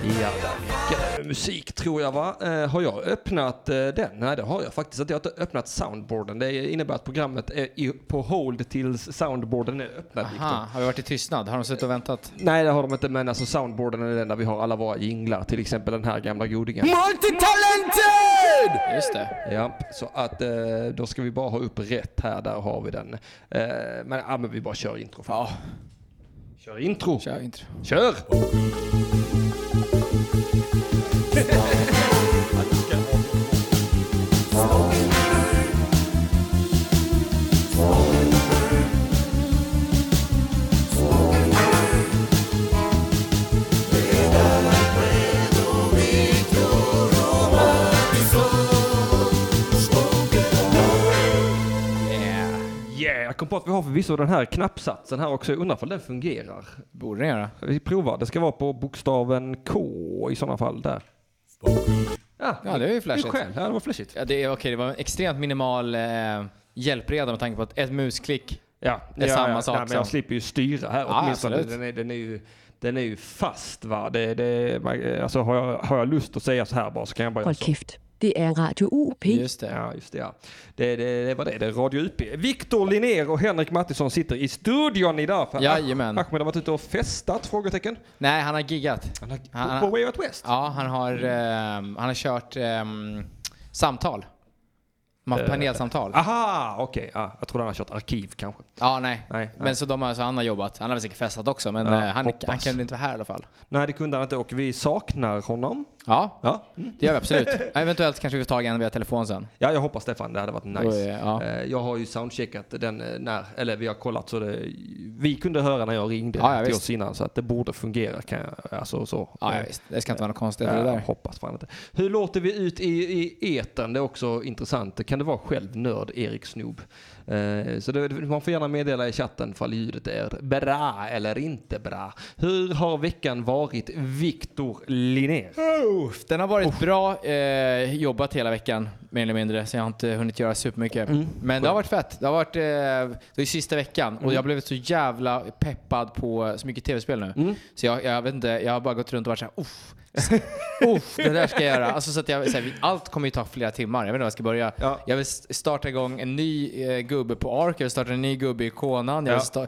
där mycket eh, musik tror jag va. Eh, har jag öppnat eh, den? Nej det har jag faktiskt inte. Jag har inte öppnat soundboarden. Det innebär att programmet är i, på hold tills soundboarden är öppnad. Viktor. Aha, har vi varit i tystnad? Har de suttit och väntat? Nej det har de inte men alltså soundboarden är den där vi har alla våra jinglar. Till exempel den här gamla godingen. Multitalented! Just det. Ja, så att eh, då ska vi bara ha upp rätt här. Där har vi den. Eh, men, ja, men vi bara kör intro. fan. Ja, Kör intro. kör intro. Kör! Yeah, jag kom på att vi har förvisso den här knappsatsen här också. Jag undrar om den fungerar. Borde ni göra. Vi provar. Det ska vara på bokstaven K i sådana fall där. Ja, Ja, det är ju flashigt. Själv. Ja, det var flashigt. Ja, det, är, okej, det var en extremt minimal eh, hjälpreda med tanke på att ett musklick. Ja, Det är ja, samma ja. sak Nej, men jag som- slipper ju styra här Ja, åtminstone. absolut. Den är, den, är ju, den är ju fast va. Det, det, man- alltså, har, jag, har jag lust att säga så här bara så kan jag bara göra Hold så. kæft. Det er Radio UP. Just det. Ja, just det. Ja. Det, det, det var det. Det är Radio UP. Viktor Linnér och Henrik Mattisson sitter i studion idag. För Jajamän. Ahmed har varit ute och festat? Frågetecken. Nej, han har giggat. Han Han- har, han- på, på Way Out West? Ja, han har, ehm, han har kört ehm, samtal. De har haft panelsamtal. Aha, okej. Ja, jag trodde han hade kört arkiv kanske. Ja, nej. Nej, nej. Men så de har, så han har jobbat. Han har väl säkert festat också, men Ja, eh, han, hoppas. han kunde inte vara här i alla fall. Nej, det kunde han inte och vi saknar honom. Ja, Ja, det gör vi absolut. Eventuellt kanske vi får tag i honom via telefon sen. ja jag hoppas det fan. Det hade varit nice. Oj, ja. Eh, Jag har ju soundcheckat den eh, när, eller vi har kollat så det, vi kunde höra när jag ringde Ja, ja, till visst. oss innan så att det borde fungera kan jag, alltså så. Ja, ja, Eh, visst. Det ska inte vara något konstigt med Ja, det jag där. hoppas fan inte. Hur låter vi ut i, i etern? Det är också intressant. Kan det vara själv nörd Erik Snob? Eh, så det, man får gärna meddela i chatten ifall ljudet är bra eller inte bra. Hur har veckan varit Viktor Linnér? Den har varit bra, eh, jobbat hela veckan mer eller mindre, så jag har inte hunnit göra supermycket. Mm. Men det har varit fett. Det har varit eh, det är sista veckan Mm. och jag har blivit så jävla peppad på så mycket tv-spel nu. Mm. Så jag, jag vet inte, jag har bara gått runt och varit såhär uff, uff, det där ska jag göra. Alltså, så att jag, så här, allt kommer ju ta flera timmar, jag vet inte var jag ska börja. Ja. Jag vill s- starta igång en ny eh, gubbe på Ark, jag vill starta en ny gubbe i Konan, jag Ja. vill sta-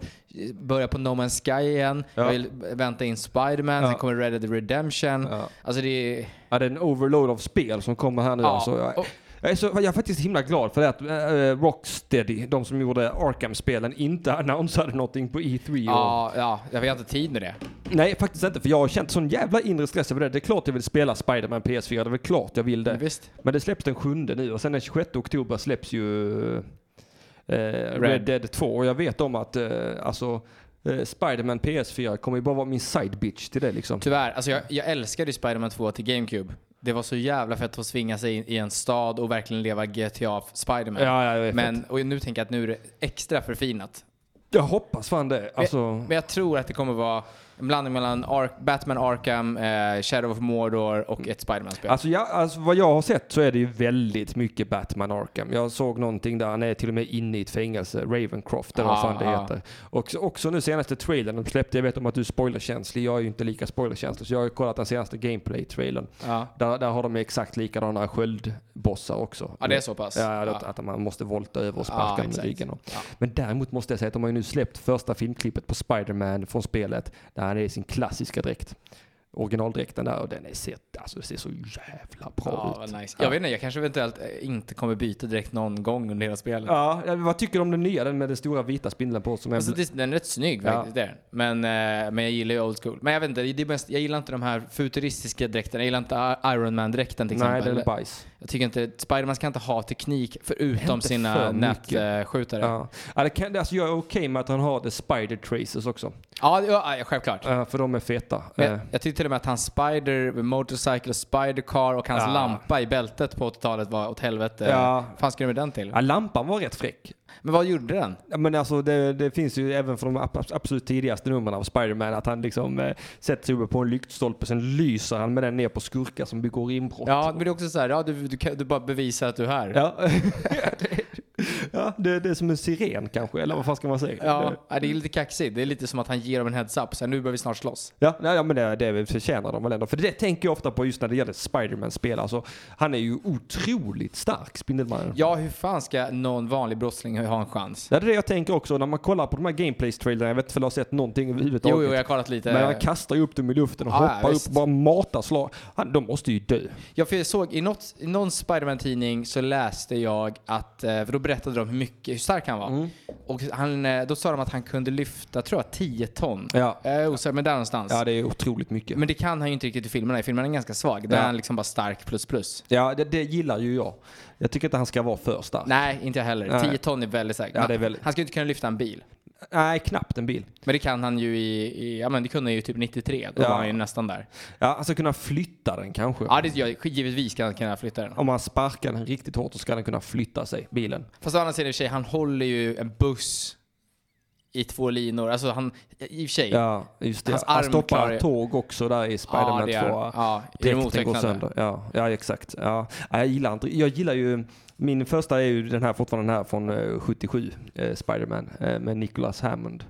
börja på No Man's Sky igen, Ja. jag vill vänta in Spiderman, Ja. sen kommer Red Dead Redemption. Ja. Alltså det är... Ja, det är en overload av spel som kommer här nu. Ja, Alltså, jag, och- jag, är så, jag är faktiskt himla glad för det att eh, Rocksteady, de som gjorde Arkham-spelen, inte annonsade någonting på E E3. och- Ja, ja, jag har inte tid med det. Nej, faktiskt inte. För jag har känt sån jävla inre stress över det. Det är klart jag vill spela Spider-Man PS4. Det är väl klart jag vill det. Men visst. Men det släpps den 7 nu och sen den 26 oktober släpps ju eh, Red. Red. Dead 2. Och jag vet om att eh, alltså, eh, Spider-Man PS4 kommer ju bara vara min side bitch till det liksom. Tyvärr, alltså jag, jag älskade ju Spider-Man 2 till GameCube. Det var så jävla fett att svinga sig in i en stad och verkligen leva GTA Spider-Man. Ja, ja, jag vet. men och nu tänker jag att nu är det extra förfinat. Jag hoppas fan det. Alltså, Men jag tror att det kommer vara en blandning mellan Ark, Batman Arkham, eh, Shadow of Mordor och ett Spider-Man-spel. Alltså, jag, alltså vad jag har sett så är det ju väldigt mycket Batman Arkham. Jag såg någonting där han är till och med inne i ett fängelse, Ravencroft, eller vad Ah, fan det ah. heter. Och så- också nu senaste trailern de släppte, jag vet om att du är spoilerkänslig, jag är ju inte lika spoilerkänslig, så jag har ju kollat den senaste gameplay-trailern. ja. Där, där har de ju exakt likadana sköldbossar också. ja, det är så pass. Ja, att, att man måste volta över och Ja, sparka dem i exakt. ryggen. Och. Ja. Men däremot måste jag säga att de har ju nu släppt första filmklippet på Spider-Man från spelet där han är i sin klassiska dräkt. Originaldräkten där och den är ser, alltså, det ser så jävla Ja, bra ut. vad nice. Jag vet inte, jag kanske eventuellt eh, inte kommer byta direkt någon gång under hela spelet. Ja, ja, vad tycker du om den nya? Den med den stora vita spindeln på som är... Alltså, det, den är rätt snygg faktiskt. det är den. Men, eh, men jag gillar ju old school. Men jag vet inte, det är mest, jag gillar inte de här futuristiska dräkterna. Jag gillar inte I- Iron Man-dräkten till Nej, exempel. den är bajs. jag tycker inte, Spiderman ska inte ha teknik förutom Inte sina för mycket. nätskjutare. Ja, Ja. Ja, det kan, alltså, jag är okej med att han har the spider traces också. ja, det- ja, ja självklart. Eh, för de är feta. Men Eh, jag, jag tyckte till och med att hans Spider Motorcycle, Spider Car och hans Ja. lampa i bältet på 80-talet var åt helvete. Ja. Vad fan ska du med den till? ja, lampan var rätt fräck. Men vad gjorde den? Ja, men alltså det, det finns ju även från de ab- absolut tidigaste numren av Spider-Man att han liksom eh, sätter sig uppe på en lyktstolpe sen lyser han med den ner på skurkar som begår inbrott. Ja, men det är också så här, ja, du, du, kan- du bara bevisar att du är här. Ja. Ja, det, det är som en siren kanske, eller vad fan ska man säga? Ja, Det- ja, det är lite kaxigt. Det är lite som att han ger dem en heads-up. Så här, nu börjar vi snart slåss. Ja, nej, ja men det, det förtjänar de väl ändå. För det tänker jag ofta på just när det gäller Spiderman-spel. Alltså, han är ju otroligt stark, Spindelmannen. Ja, hur fan ska någon vanlig brottsling ha en chans? Det är det jag tänker också när man kollar på de här gameplays-trailerna. Jag vet inte om jag har sett någonting överhuvudtaget. Jo, jo, jag har kollat lite. Men han kastar ju upp dem i luften och Ja, ja, hoppar upp visst. och bara matar slag. Han, de måste ju dö. Jag för- såg i, något, i någon Spiderman-tidning så läste jag att, eh, för då berättade de hur, mycket, hur stark han var. Mm. Och han, eh, då sa de att han kunde lyfta, tror jag, 10 ton. Ja. Eh, osäker, men där någonstans. Ja, det är otroligt mycket. Men det kan han ju inte riktigt i filmerna. I filmerna är han ganska svag. Där Ja. är han liksom bara stark plus plus. Ja, det, det gillar ju jag. Jag tycker inte han ska vara för stark. Nej, Nej, inte jag heller. Nej. 10 ton är väldigt starkt. Ja, det är väldigt- Han ska ju inte kunna lyfta en bil. knappt en bil. Men det kan han ju i, i ja men det kunde han ju typ 93. Då Ja. var han ju nästan där. Ja, han ska kunna flytta den kanske. Ja, det, ja, givetvis kan han kunna flytta den. Om han sparkar den riktigt hårt så ska den kunna flytta sig, bilen. Fast å andra sidan i och för sig, han håller ju en buss i två linor. Alltså han, i och för sig. Ja, just det. Hans han arm stoppar klarar- tåg också där i ja, Spiderman det 2. är, ja, i det alltså? Dräkten går mottecknade. sönder. Ja, ja exakt. Ja. Nej, Jag gillar inte. Jag gillar ju, min första är ju den här fortfarande den här från eh, 77, eh, Spiderman, eh, med Nicholas Hammond.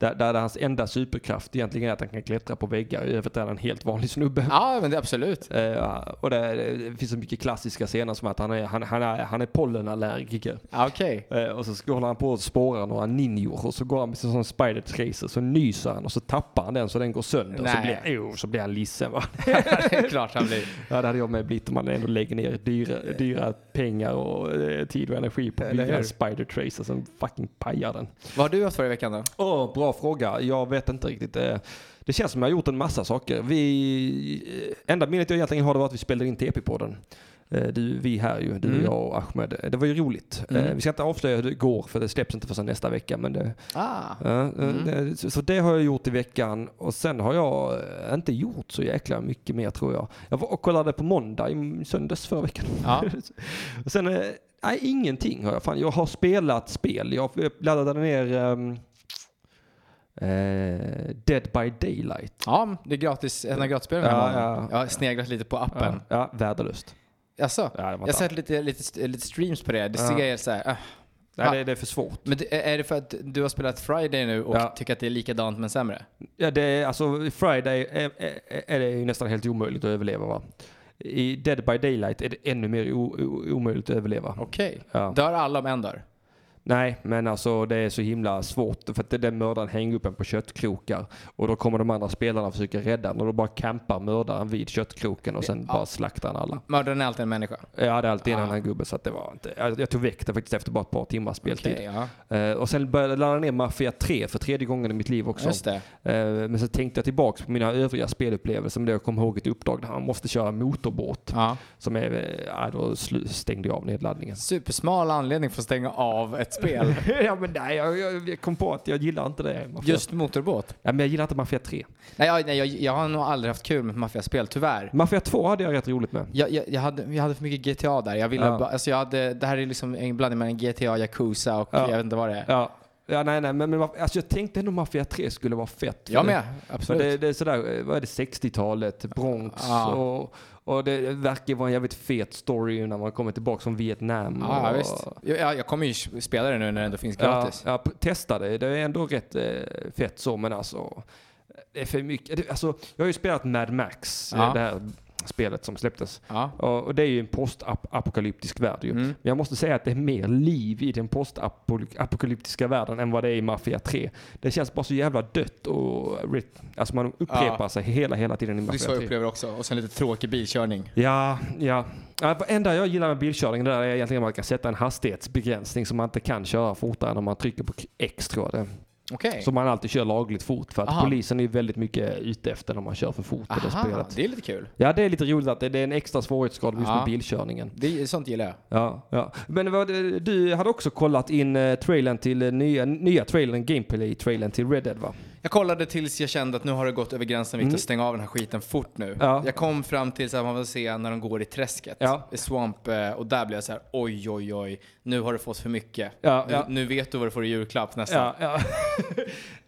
Där, där är hans enda superkraft egentligen är att han kan klättra på väggar. I övrigt är han en helt vanlig snubbe. Ja, men det absolut. Eh, och det, det finns så mycket klassiska scener som att han är, han, han är, han är pollenallergiker. Ja, Okej. Eh, och så ska- håller han på att spåra några ninjor och så går han med sin sån spider tracer så nyser han och så tappar han den så den går sönder. Så Nej. blir, oh, så blir han ledsen. Va? det är klart han blir. Ja, det hade jag med blivit om man ändå lägger ner dyra, dyra pengar och eh, tid och energi på att Eller bygga en hur? spider tracer som fucking pajar den. Vad har du haft förra veckan då? Åh, bra fråga. Jag vet inte riktigt. eh, Det känns som jag har gjort en massa saker. Vi, eh, enda minnet jag egentligen har det var att vi spelade in TP-podden. Eh, Du, vi här ju, du, Mm. jag och Ahmed. Det var ju roligt. Mm. Eh, Vi ska inte avslöja hur det går för det släpps inte förrän nästa vecka. Men det, Ah. Ja, eh, Mm. det- så- Så det har jag gjort i veckan och sen har jag eh, inte gjort så jäkla mycket mer tror jag. Jag var och kollade på måndag i söndags förra veckan. Ja. och sen, eh, nej ingenting har jag. Fan, jag har spelat spel. Jag jag laddade ner ehm, eh, Dead by Daylight. ja, det är gratis, en av gratisspelen vi Ja, har. ja. Jag har sneglat lite på appen. Ja, ja, värdelöst. Jaså? Ja, det, var Jag har inte- sett lite, lite, lite streams på det. Det Ja. ser jag så här. ah. nej, det, det är för svårt. Men det- är det för att du har spelat Friday nu och Ja. tycker att det är likadant men sämre? Ja, det är, alltså Friday är, är, är det ju nästan helt omöjligt att överleva va? I Dead by Daylight är det ännu mer o, o, omöjligt att överleva. Okej. Ja. Dör alla om en dör? Nej, men alltså det är så himla svårt för att det- den mördaren hänger upp en på köttkrokar och då kommer de andra spelarna försöka rädda den och då bara campar mördaren vid köttkroken och sen bara slaktar han alla. Mördaren är alltid en människa? Jag hade alltid en Ah. annan gubbe så att det var inte, jag jag tog väck det faktiskt efter bara ett par timmars speltid. Okej, ja. Eh, och sen började jag ladda ner Mafia 3 för tredje gången i mitt liv också. Just det. Eh, men så tänkte jag tillbaka på mina övriga spelupplevelser men då jag kom ihåg ett uppdrag där man måste köra motorbåt. Ja. Som är, äh, då slu- stängde jag av nedladdningen. Supersmal anledning för att stänga av ett spel. ja men nej, jag, jag, jag kom på att jag gillar inte det. Mafia Just motorbåt. Ja, men jag gillar inte Mafia 3. Nej, jag, nej, jag, jag har nog aldrig haft kul med maffiaspel, tyvärr. Mafia 2 hade jag rätt roligt med. Jag, jag, jag, hade, jag hade för mycket GTA där. Jag ville Ja. bara, alltså jag hade, det här är liksom en blandning mellan GTA, Yakuza och Ja. jag vet inte vad det är. Ja. Ja, nej, nej, men, men varf- alltså, jag tänkte ändå Mafia 3 skulle vara fett. Jag För med, Det, för absolut. det, det är sådär, eh, vad är det, 60-talet, Bronx Ja. och, och det verkar vara en jävligt fet story när man kommer tillbaka från Vietnam. Ja, ja, och, visst. Jag, jag kommer ju spela det nu när det ändå finns Ja, gratis. ja, p- testa det. Det är ändå rätt eh, fett så, men alltså. Det är för mycket. Det, alltså, jag har ju spelat Mad Max, eh, Ja. det här spelet som släpptes. Ja. Och, och det är ju en postapokalyptisk värld ju. Mm. Men jag måste säga att det är mer liv i den postapokalyptiska världen än vad det är i Mafia 3. Det känns bara så jävla dött och rit- alltså man upprepar Ja. sig hela, hela tiden i Det är så jag Mafia 3. upplever också. Och sen lite tråkig bilkörning. Ja, ja. Ja, Det enda jag gillar med bilkörning det där är egentligen att man kan sätta en hastighetsbegränsning som man inte kan köra fortare än om man trycker på X tror jag det är. Okej. Så man alltid kör lagligt fort för att Aha. polisen är ju väldigt mycket ute efter när man kör för fort i det Aha, spelet. det är lite kul. Ja, det är lite roligt att det det är en extra svårighetsgrad just med Ja. bilkörningen. Det, är- sånt gillar jag. Ja, ja. Men vad, du hade också kollat in eh, trailern till eh, nya, nya trailern, gameplay-trailern till Red Dead va? Jag kollade tills jag kände att nu har det gått över gränsen Viktor, stäng av den här skiten fort nu. Mm. Ja. Jag kom fram till att man får se när de går i träsket, Ja. i Swamp, eh, och där blev jag så här: oj oj oj, nu har du fått för mycket. Ja, nu, ja. nu vet du vad du får i julklapp nästan. Ja, ja.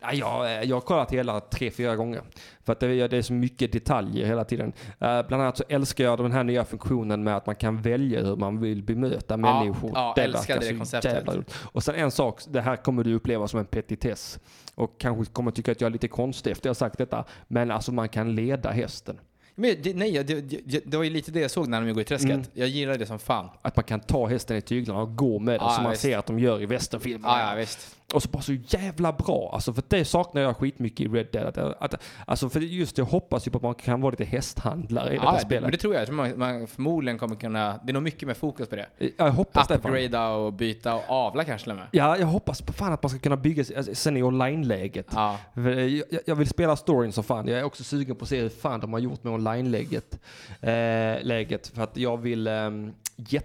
Ja, jag, jag har kollat hela tre, fyra gånger. För att det, det är så mycket detaljer hela tiden. Eh, bland annat så älskar jag den här nya funktionen med att man kan välja hur man vill bemöta människor. ja, älskar verkar det så konceptet. jävla roligt. Och sen en sak, det här kommer du uppleva som en petitess. Och kanske kommer tycka att jag är lite konstig efter jag har sagt detta. Men alltså man kan leda hästen. Men det, nej, jag- det, det, det var ju lite det jag såg när de gick i träsket. Mm. Jag gillade det som fan. Att man kan ta hästen i tyglarna och gå med den Ja, som man visst. ser att de gör i västernfilmerna. Ja, ja, visst. Och så bara så jävla bra. Alltså för det saknar jag skitmycket i Red Dead. Att, att, alltså för just jag hoppas ju på att man kan vara lite hästhandlare i detta Ja, ja, spelet. men det tror jag. jag tror man, man förmodligen kommer kunna... Det är nog mycket mer fokus på det. jag hoppas det. fan. Upgrada och byta och avla kanske till och med. Ja, jag hoppas på fan att man ska kunna bygga sig- alltså, sen i online-läget. Ja. För, eh, Jag, jag vill spela storyn så fan. Jag är också sugen på att se hur fan de har gjort med online-läget. Eh, läget. För att jag vill ehm,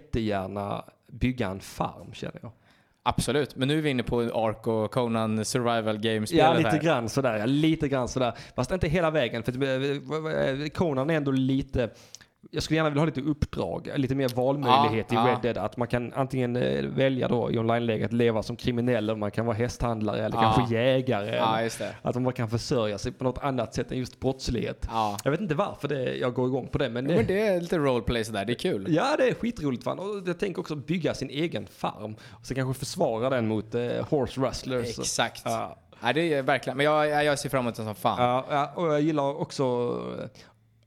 jättegärna bygga en farm känner jag. Absolut. Men nu är vi inne på Ark och Conan Survival Game-spelet Ja, lite här. grann sådär. Ja, lite grann sådär. Fast inte hela vägen. För att, eh, Conan är ändå lite... Jag skulle gärna vilja ha lite uppdrag, lite mer valmöjlighet Ja, i ja. Red Dead. Att man kan antingen eh, välja då i online-läget leva som kriminell, eller man kan vara hästhandlare eller Ja. kanske jägare. Ja, eller- just det. Att de bara kan försörja sig på något annat sätt än just brottslighet. Ja. Jag vet inte varför det, jag går igång på det, men, det, Men det är lite roleplay sådär. Det är kul. ja, det är skitroligt. Fan. Och jag tänker också bygga sin egen farm. Och sen kanske försvara den mot eh, horse rustlers. Exakt. Ja. Ja. det är verkligen. Men jag, jag, jag ser fram emot det som fan. Ja, ja, och jag gillar också... eh,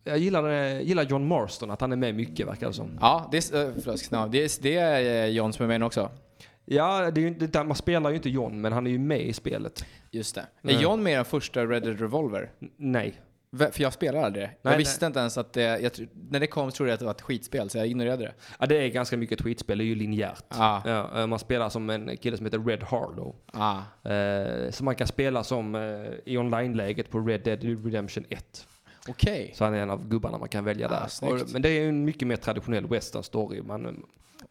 Jag gillar, eh, gillar John Marston, att han är med mycket verkar det som. Ja, det är, eh, förlåt, snabb. det är, det är eh, John som är med också. Ja, det är ju, inte- där- man spelar ju inte John, men han är ju med i spelet. Just det. Mm. Är John med i den första Red Dead Revolver? N- Nej. V- För jag spelar aldrig det. Jag nej. visste inte ens att det, jag, tr- när det kom trodde jag att det var ett skitspel, så jag ignorerade det. Ja, det är ganska mycket tweetspel, det är ju linjärt. Ah. Ja, eh, man spelar som en kille som heter Red Harlow. Ah. Eh, som man kan spela som eh, i online-läget på Red Dead Redemption 1. Okej. Så han är en av gubbarna man kan välja Ah, där. snyggt. Och, men det är ju en mycket mer traditionell western story. Man, eh,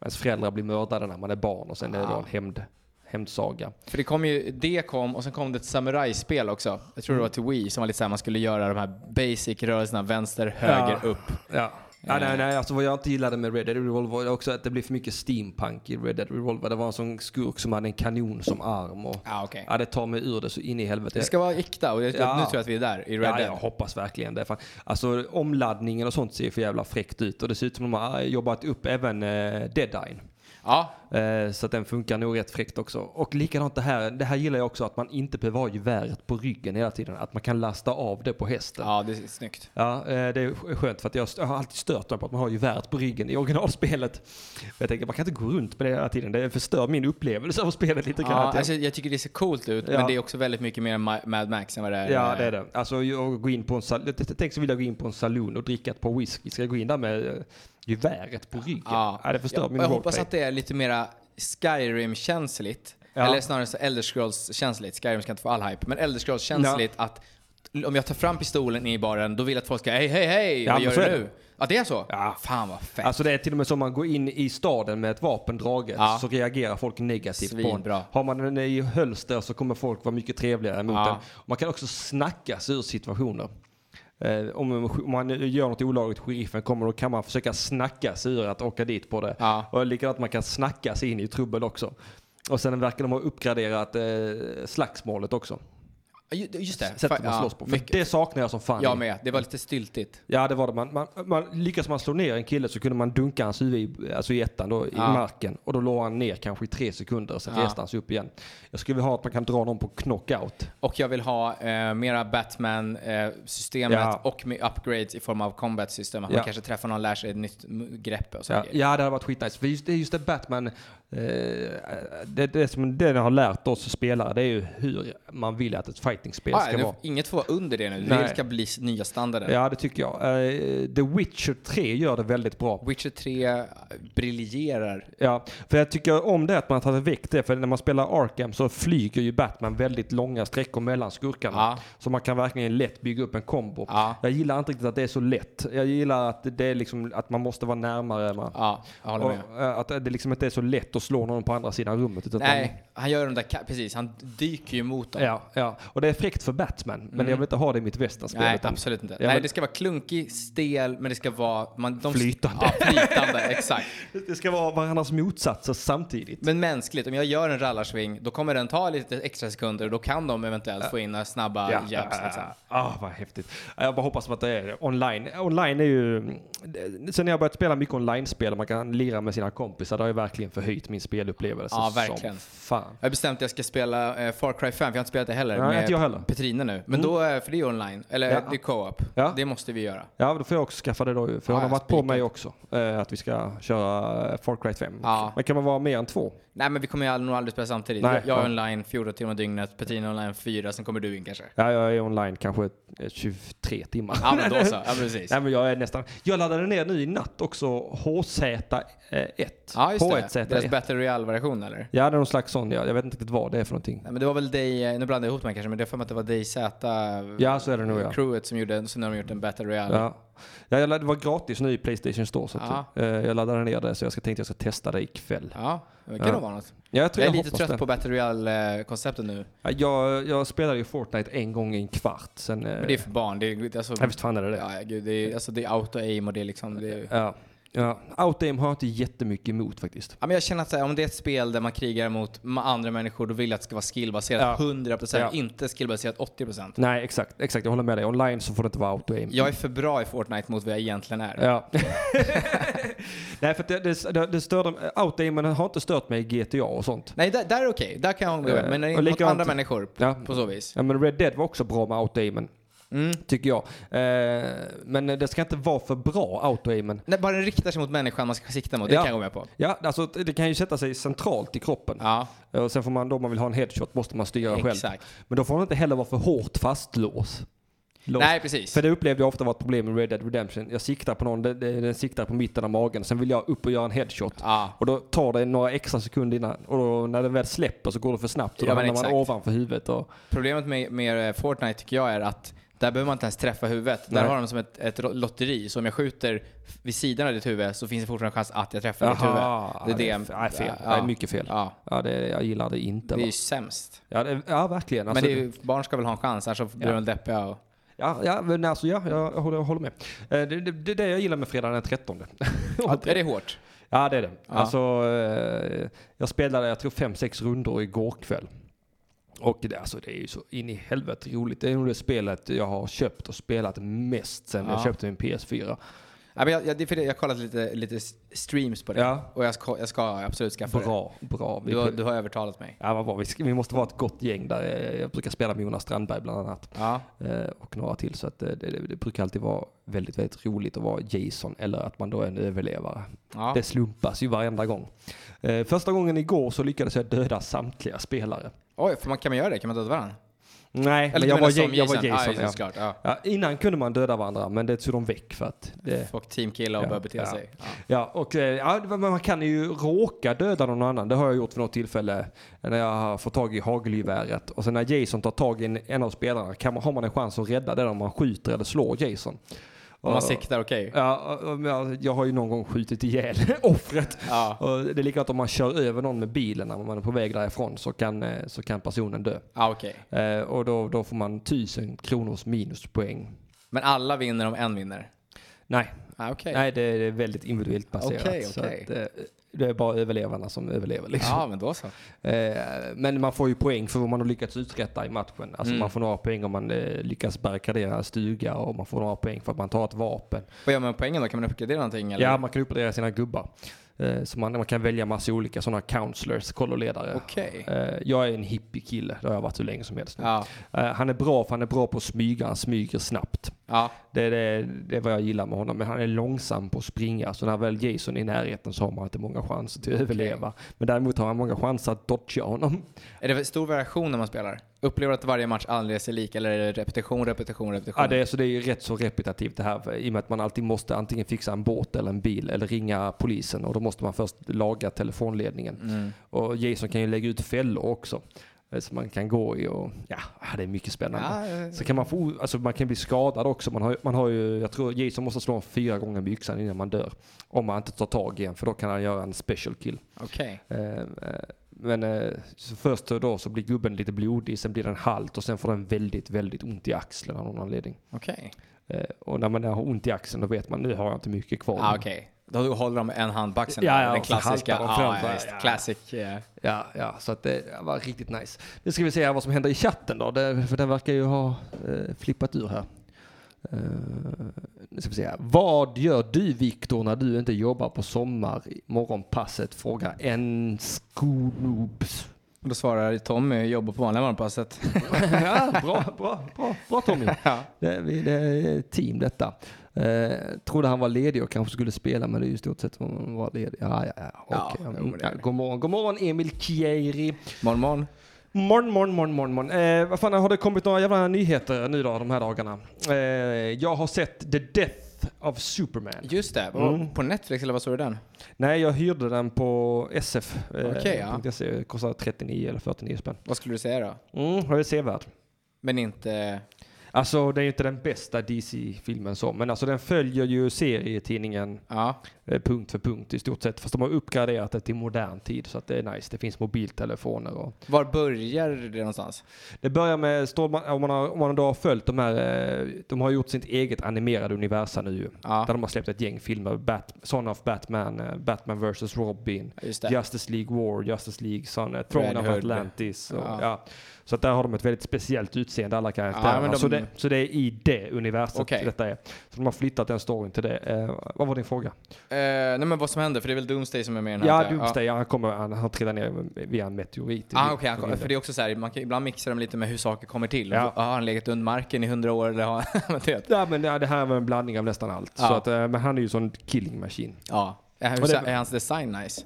ens föräldrar blir mördade när man är barn och sen är det då en hämnd, hämndsaga. För det kom ju, det kom och sen kom det ett samurajspel också. Jag tror det Mm. var till Wii som var lite såhär, man skulle göra de här basic rörelserna, vänster, höger, Ja. upp. Ja. Ja, nej, Eh. nej, alltså vad jag inte gillade med Red Dead Revolver var också att det blev för mycket steampunk i Red Dead Revolver. Det var en sån skurk som hade en kanon som arm. Och, Ja, okej. ja, det tar mig ur det så in i helvete. Det ska vara äkta och jag, Ja. nu tror jag att vi är där i Red Ja, jag Dead. hoppas verkligen det. Fan. Alltså omladdningen och sånt ser ju för jävla fräckt ut. Och det ser ut som de har jobbat upp även eh, Deadline. Ja, Eh, så att den funkar nog rätt fräckt också. Och likadant det här. Det här gillar jag också att man inte behöver ha geväret på ryggen hela tiden. Att man kan lasta av det på hästen. ja det är snyggt. Ja, eh, det är sk- skönt för att jag st- jag har alltid stört mig på att man har geväret på ryggen i originalspelet. Jag tänker man kan inte gå runt med det hela tiden. Det förstör min upplevelse av spelet lite grann. Ja, Att jag- alltså, jag tycker det ser coolt ut, Ja. men det är också väldigt mycket mer än Ma- Mad Max än vad det är. Ja, eh, det är det. Alltså, jag går in på en sal- jag t- t- tänk så vill jag gå in på en saloon och dricka ett par whisky. Ska jag gå in där med eh, geväret på ryggen? Ja, det förstör jag, min jag hoppas roleplay. att det är lite mera Skyrim-känsligt. Ja. Eller snarare så Elder Scrolls-känsligt. Skyrim ska inte få all hype. Men Elder Scrolls-känsligt att om jag tar fram pistolen i baren, då vill jag att folk ska hej, hej, hej, Ja, vad men gör så du är det. nu? Ja, det är så? Ja. Fan vad fett. Alltså det är till och med så om man går in i staden med ett vapen draget Ja. så reagerar folk negativt på en. Svinbra. Har man den i hölster så kommer folk vara mycket trevligare mot Ja. en. Man kan också snacka sig ur situationer. Eh, om, om man gör något olagligt, sheriffen kommer, då kan man försöka snacka sig ur att åka dit på det. Ja. Och likadant man kan snacka sig in i trubbel också. Och sen verkar de ha uppgraderat eh, slagsmålet också. Ju- Just det. Sättet man Ja, slåss på. För mycket. det saknar jag som fan. Jag med. Det var lite styltigt. Ja det var det. Man, man, man, lyckas man slå ner en kille så kunde man dunka hans huvud i, alltså i ettan då, i Ja. marken. Och då låg han ner kanske i tre sekunder och sen Ja. reste han sig upp igen. Jag skulle vilja ha att man kan dra någon på knockout. Och jag vill ha eh, mera Batman-systemet Ja. och med upgrades i form av combat-system. Att Ja. man kanske träffar någon, lär sig ett nytt m- grepp och Ja, saker. ja det hade varit skitnice. För just det, just det Batman, eh, det, det som den har lärt oss spelare det är ju hur man vill att ett fightingspel Ah, ska nu, vara. inget får vara under det nu. Det Nej. ska bli s- nya standarden. Ja det tycker jag. Eh, The Witcher 3 gör det väldigt bra. Witcher 3 briljerar. Ja, för jag tycker om det att man har tagit väck det. För när man spelar Arkham så flyger ju Batman väldigt långa sträckor mellan skurkarna. Ja. Så man kan verkligen lätt bygga upp en kombo. Ja. Jag gillar inte riktigt att det är så lätt. Jag gillar att det är liksom att man måste vara närmare. Man. Ja, jag håller Och, med. eh, att det liksom inte är så lätt att slå någon på andra sidan rummet. Utan att Nej, han gör de där, ka- precis, han dyker ju mot dem. Man, ja, ja. Och det det är fräckt för Batman, men jag vill inte ha det i mitt västanspel. Mm. Nej, utan- absolut inte. Ja, Nej, men- det ska vara klunkig, stel, men det ska vara... Man, de, Flytande. Ja, flytande, exakt. Det ska vara varandras motsatser samtidigt. Men mänskligt, om jag gör en rallarsving, då kommer den ta lite extra sekunder och då kan de eventuellt få in några snabba Ja, jabs. ah, Liksom. ah, vad häftigt. Jag bara hoppas att det är online. Online är ju... Sen när jag börjat spela mycket online-spel, man kan lira med sina kompisar, det har ju verkligen förhöjt min spelupplevelse Ja, verkligen. som fan. Jag har bestämt att jag ska spela eh, Far Cry 5, för jag har inte spelat det heller, Nej, med inte jag heller. Mm. Petrina nu. Men då, eh, för det är ju online, eller Ja. det är co-op. Ja. Det måste vi göra. Ja, då får jag också skaffa det då ju, för Ja, hon har ja, varit på spikat. mig också, eh, att vi ska köra eh, Far Cry 5. också. Ja. Men kan man vara mer än två? Nej men vi kommer ju aldrig, nog aldrig spela samtidigt. Nej, jag jag är ja. online 14 timmar dygnet, Petrina är online 4, sen kommer du in kanske. Ja, jag är online kanske eh, 23 timmar. Ja men då så, ja precis. Nej, men jag är nästan... Jag laddade ner nu i natt också HZ1. Ja just det, deras H1Z1. Battle Royale-version eller? Ja, det är någon slags sån. Jag, jag vet inte riktigt vad det är för någonting. Nej, men det var väl dig, eh, nu blandar jag ihop mig kanske, men det är för mig att det var dig Z Ja, så är det nog, ja. crewet som gjorde, så när de gjort en Battle Royale. Ja. Ja, jag ladd, det var gratis nu i Playstation Store. Så att, eh, jag laddade ner det så jag ska, tänkte jag ska testa det ikväll. Ja, det kan Ja. nog vara något. Ja, jag tror Jag är jag, lite hoppas trött det. på Battle Royale-konceptet nu. Ja, Jag, jag spelade ju Fortnite en gång i en kvart. Sen, eh, Men det är för barn. Det är, alltså, ja, visst fan är det det. Ja. ja, ja, gud, det är, alltså, det är auto-aim och det är liksom... Det är, Ja. Outgame har jag inte jättemycket emot faktiskt. ja, men jag känner att så här, om det är ett spel där man krigar mot ma- andra människor, då vill jag att det ska vara skillbaserat Ja. 100%, Ja. inte skillbaserat 80%. Nej, exakt. Exakt, jag håller med dig. Online så får det inte vara outgame. Jag är för bra i Fortnite mot vad jag egentligen är. Ja. Nej, för att det, det, det, det störde... Outgamen har inte stört mig i GTA och sånt. Nej, där, där är okej. Där kan jag hålla med. Men när det Och är mot likadant- andra människor, p- Ja. på så vis. Ja, men Red Dead var också bra med outgaimen, Mm. tycker jag. Eh, men det ska inte vara för bra, outgaimen. Nej, bara den riktar sig mot människan man ska sikta mot, det Ja. kan jag gå med på. Ja, alltså det kan ju sätta sig centralt i kroppen. Ja, Eh, Och sen får man, då om man vill ha en headshot måste man styra själv. exakt. Men då får man inte heller vara för hårt fastlåst. Låst. Nej, precis. För det upplevde jag ofta var ett problem med Red Dead Redemption. Jag siktar på någon, den, den siktar på mitten av magen. Sen vill jag upp och göra en headshot. Ja. Och då tar det några extra sekunder innan. Och då, när den väl släpper så går det för snabbt. Så Ja, då men hamnar man exakt. ovanför huvudet. Och, Problemet med, med eh, Fortnite tycker jag är att där behöver man inte ens träffa huvudet. Där Nej. har de som ett, ett lotteri, så om jag skjuter vid sidan av ditt huvud så finns det fortfarande chans att jag träffar ditt huvud. Aha, Det är det- f- nej, fel. ja. Det är mycket fel. Ja, Ja, det, jag gillar det inte. det är va? ju sämst. Ja, det, ja, verkligen. Alltså, men det är, ju- barn ska väl ha en chans, annars så blir de deppiga. Och, ja, ja, men alltså, ja, jag, jag håller, jag håller med. Eh, Det är det, det, är det jag gillar med fredagen den 13. är det hårt? ja, det är det. Alltså, eh, jag spelade, jag tror, fem, sex rundor igår kväll. Och det, alltså, det är ju så in i helvete roligt. Det är nog det spelet jag har köpt och spelat mest sen Ja. jag köpte min PS4. Ja, men jag, jag, det är för det, jag har kollat lite, lite s- streams på det Ja. och jag ska, jag ska absolut skaffa Bra, bra. det. Vi, Du, har- du har övertalat mig. ja, vad bra. Vi, ska- vi måste vara ett gott gäng där. Eh, Jag brukar spela med Jonas Strandberg bland annat. Ja. Eh, och några till. Så att eh, det, det, det brukar alltid vara väldigt, väldigt roligt att vara Jason eller att man då är en överlevare. Ja. Det slumpas ju varenda gång. Eh, första gången igår så lyckades jag döda samtliga spelare. Oj, får man, kan man göra det? Kan man döda varandra? Nej, Eller men jag du menar var, som Ja- jag var Ja, Jason. just det, ja. såklart. Ja. Ja, innan kunde man döda varandra, men det tog de väck för att det... Folk teamkillar och Ja, börjar bete ja. sig. Ja. Ja, och eh, ja, men man kan ju råka döda någon annan. Det har jag gjort för något tillfälle eh, när jag har fått tag i hagelgeväret. Och sen när Jason tar tag i en, en av spelarna kan man, har man en chans att rädda den om man skjuter eller slår Jason. Om man Och- siktar okej. Ja, och- och jag- jag har ju någon gång skjutit ihjäl offret. Ja. Och det är likadant om man kör över någon med bilen när man är på väg därifrån så kan, eh, så kan personen dö. Ja, okej. Eh, och då, då får man 1000 kronors minuspoäng. Men alla vinner om en vinner? Nej, Ah, okej. nej det är väldigt individuellt baserat. Okej, Så okej. att, eh, det är bara överlevarna som överlever. Liksom. Ja, men då så. Eh, men man får ju poäng för vad man har lyckats uträtta i matchen. Alltså Mm. Man får några poäng om man eh, lyckas barrikadera en stuga och man får några poäng för att man tar ett vapen. Vad gör man med poängen då? Kan man uppgradera någonting? Eller? Ja, man kan uppdatera sina gubbar. Eh, Så man, man kan välja massa olika sådana counselors, kolloledare. Okej. Eh, Jag är en hippiekille, det har jag varit hur länge som helst nu. Ja. Eh, Han är bra för han är bra på att smyga, han smyger snabbt. ja. Det är, det, det är vad jag gillar med honom, men han är långsam på att springa. Så när väl Jason är i närheten så har man inte många chanser till att överleva. Men däremot har man många chanser att dodga honom. Är det stor variation när man spelar? Upplever du att varje match alldeles är lik eller är det repetition, repetition, repetition? Ja, det är, så det är ju rätt så repetitivt det här i och med att man alltid måste antingen fixa en båt eller en bil eller ringa polisen och då måste man först laga telefonledningen. Och Jason kan ju lägga ut fällor också. eh, som man kan gå i och ja, ah, det är mycket spännande. Ja, eh, Så kan man få, alltså man kan bli skadad också. Man har, ju- man har ju, jag tror Jason måste slå fyra gånger med yxan innan man dör. Om man inte tar tag i en, för då kan han göra en special kill. Okej. Eh, eh, Men eh, så först då så blir gubben lite blodig, sen blir den halt och sen får den väldigt, väldigt ont i axeln av någon anledning. Okej. Eh, Och när man har ont i axeln då vet man nu har jag inte mycket kvar. Ah, okej. Då håller de en hand på axeln. Ja, där, ja, den och så klassiska. haltar de fram ja, så här, visst. ja. Classic. eh, Ja, ja, så att det var riktigt nice. Nu ska vi se här vad som händer i chatten då, det, för den verkar ju ha eh, flippat ur här. Eh, nu ska vi se här. Vad gör du Viktor när du inte jobbar på sommar morgonpasset? Frågar en skolnobs. Då svarar Tommy, jobbar på vanliga morgonpasset. ja, bra, bra, bra, bra Tommy. Ja. Det, vi- det är ett team detta. Eh, trodde han var ledig och kanske skulle spela men det är ju i stort sett om han var ledig. Ja, ja, ja. Ja, Okej. jo, men det Mm, är ja, det. god morgon, god morgon Emil Kieri. Morgon, morgon. Morgon, morgon, morgon, morgon. morgon. Eh, vad fan, har det kommit några jävla nyheter nu då, de här dagarna? Eh, jag har sett The Death of Superman. Just det. Mm. På Netflix eller vad såg du den? Nej, jag hyrde den på sf.se. Eh, Okej, ja. punkt se. Kostade 39 eller 49 spänn. Vad skulle du säga då? Mm, har jag sevärd. Men inte... Alltså, det är ju inte den bästa DC-filmen så, men alltså den följer ju serietidningen Ja. eh, punkt för punkt i stort sett. Fast de har uppgraderat det till modern tid så att det är nice. Det finns mobiltelefoner och Var börjar det någonstans? Det börjar med, Stålman, om, man har, om man då har följt de här, eh, de har gjort sitt eget animerade universum nu ju. Ja. Där de har släppt ett gäng filmer, Bat, Son of Batman, eh, Batman vs Robin, Just det. Justice League War, Justice League Son, eh, Throne of Hood. Atlantis. Och, Ja. ja. Så att där har de ett väldigt speciellt utseende alla Ja, karaktärer. men de- så, det, så det är i det universum Okej. detta är. Så de har flyttat den storyn till det. Eh, vad var din fråga? Eh, nej men vad som händer, för det är väl Doomsday som är med i den här? Ja, tror jag. Doomsday, typ. han, kommer, han, han trillar ner via en meteorit. Ja. Ah, okej, han- för det är också så här, man kan, ibland mixar de lite med hur saker kommer till. Ja. Har han legat under marken i hundra år eller har han... du vet. Ja, men det det här var en blandning av nästan allt. Ja. Så att, eh, men han är ju sån killing machine. ja. Är, han- Och det- är hans design nice?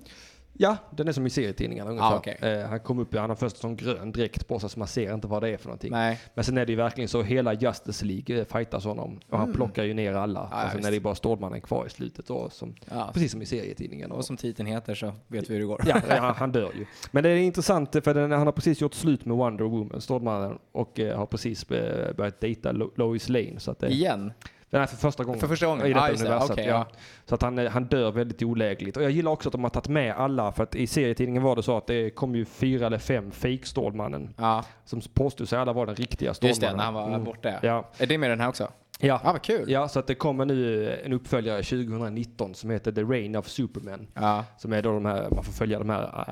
Ja, den är som i serietidningarna ungefär. Ah, okej. eh, han kom upp, han har först sån grön dräkt på sig så man ser inte vad det är för någonting. Nej. Men sen är det ju verkligen så, hela Justice League eh, fightas honom och han plockar ju ner alla. Mm. ja, och sen visst. är det ju bara Stålmannen kvar i slutet då, som, Ja. precis som i serietidningarna. Och som titeln heter så vet vi hur det går. Ja, ja, han dör ju. Men det är intressant eh, för den, han har precis gjort slut med Wonder Woman, Stålmannen, och eh, har precis eh, börjat dejta Lo- Lois Lane. Så att eh, det, Igen? Nej, för första gången. För första gången? I detta Ah, just det. universum. Okej, ja. ja. Så att han, eh, han dör väldigt olägligt. Och jag gillar också att de har tagit med alla, för att i serietidningen var det så att det kom ju fyra eller fem fake Stålmannen. Ja. Som påstod sig alla vara den riktiga Stålmannen. Just det, när han var borta ja. Mm. Ja. Är det med den här också? Ja. Ja, vad kul. ja, så att det kommer nu eh, en uppföljare 2019 som heter The Reign of Superman. Ja. Som är då de här, man får följa de här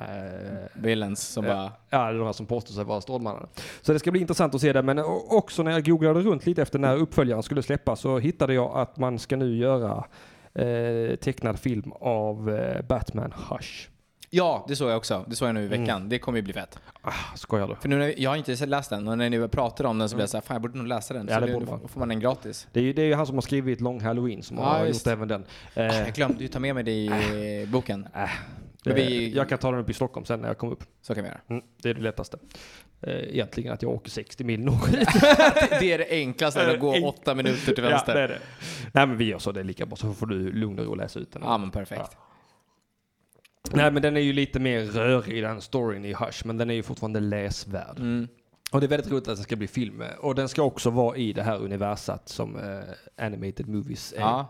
eh, Villains som bara... Ja, de här som påstår sig vara Stålmannen. Så det ska bli intressant att se det. Men o- också när jag googlade runt lite efter när uppföljaren skulle släppas så hittade jag att man ska nu göra eh, tecknad film av eh, Batman Hush. Ja, det såg jag också. Det såg jag nu i Mm. veckan. Det kommer ju bli fett. Ah, skojar du? För nu när, jag har inte läst den och när ni pratade om den så blev jag såhär, fan jag borde nog läsa den. Mm. Ja, så det nu borde man. får man den gratis. Det är, ju, det är ju han som har skrivit Long Halloween som Ja, har just. gjort även den. Eh, Ah, Jag glömde ju ta med mig det i eh, boken. äh, Men vi- eh, Jag kan ta den upp i Stockholm sen när jag kommer upp. Så kan vi göra. Mm, det är det lättaste. Eh, egentligen att jag åker 60 mil norrut. Det är det enklaste, än att gå åtta minuter ja, till det vänster. är det. Nej men vi gör så, det är lika bra. Så får du lugn och ro läsa ut den. Ja, men perfekt. Nej, men den är ju lite mer rörig den storyn i Hush, men den är ju fortfarande läsvärd. Mm. Och det är väldigt roligt att den ska bli film. eh, Och den ska också vara i det här universat som eh, animated movies är. Ja.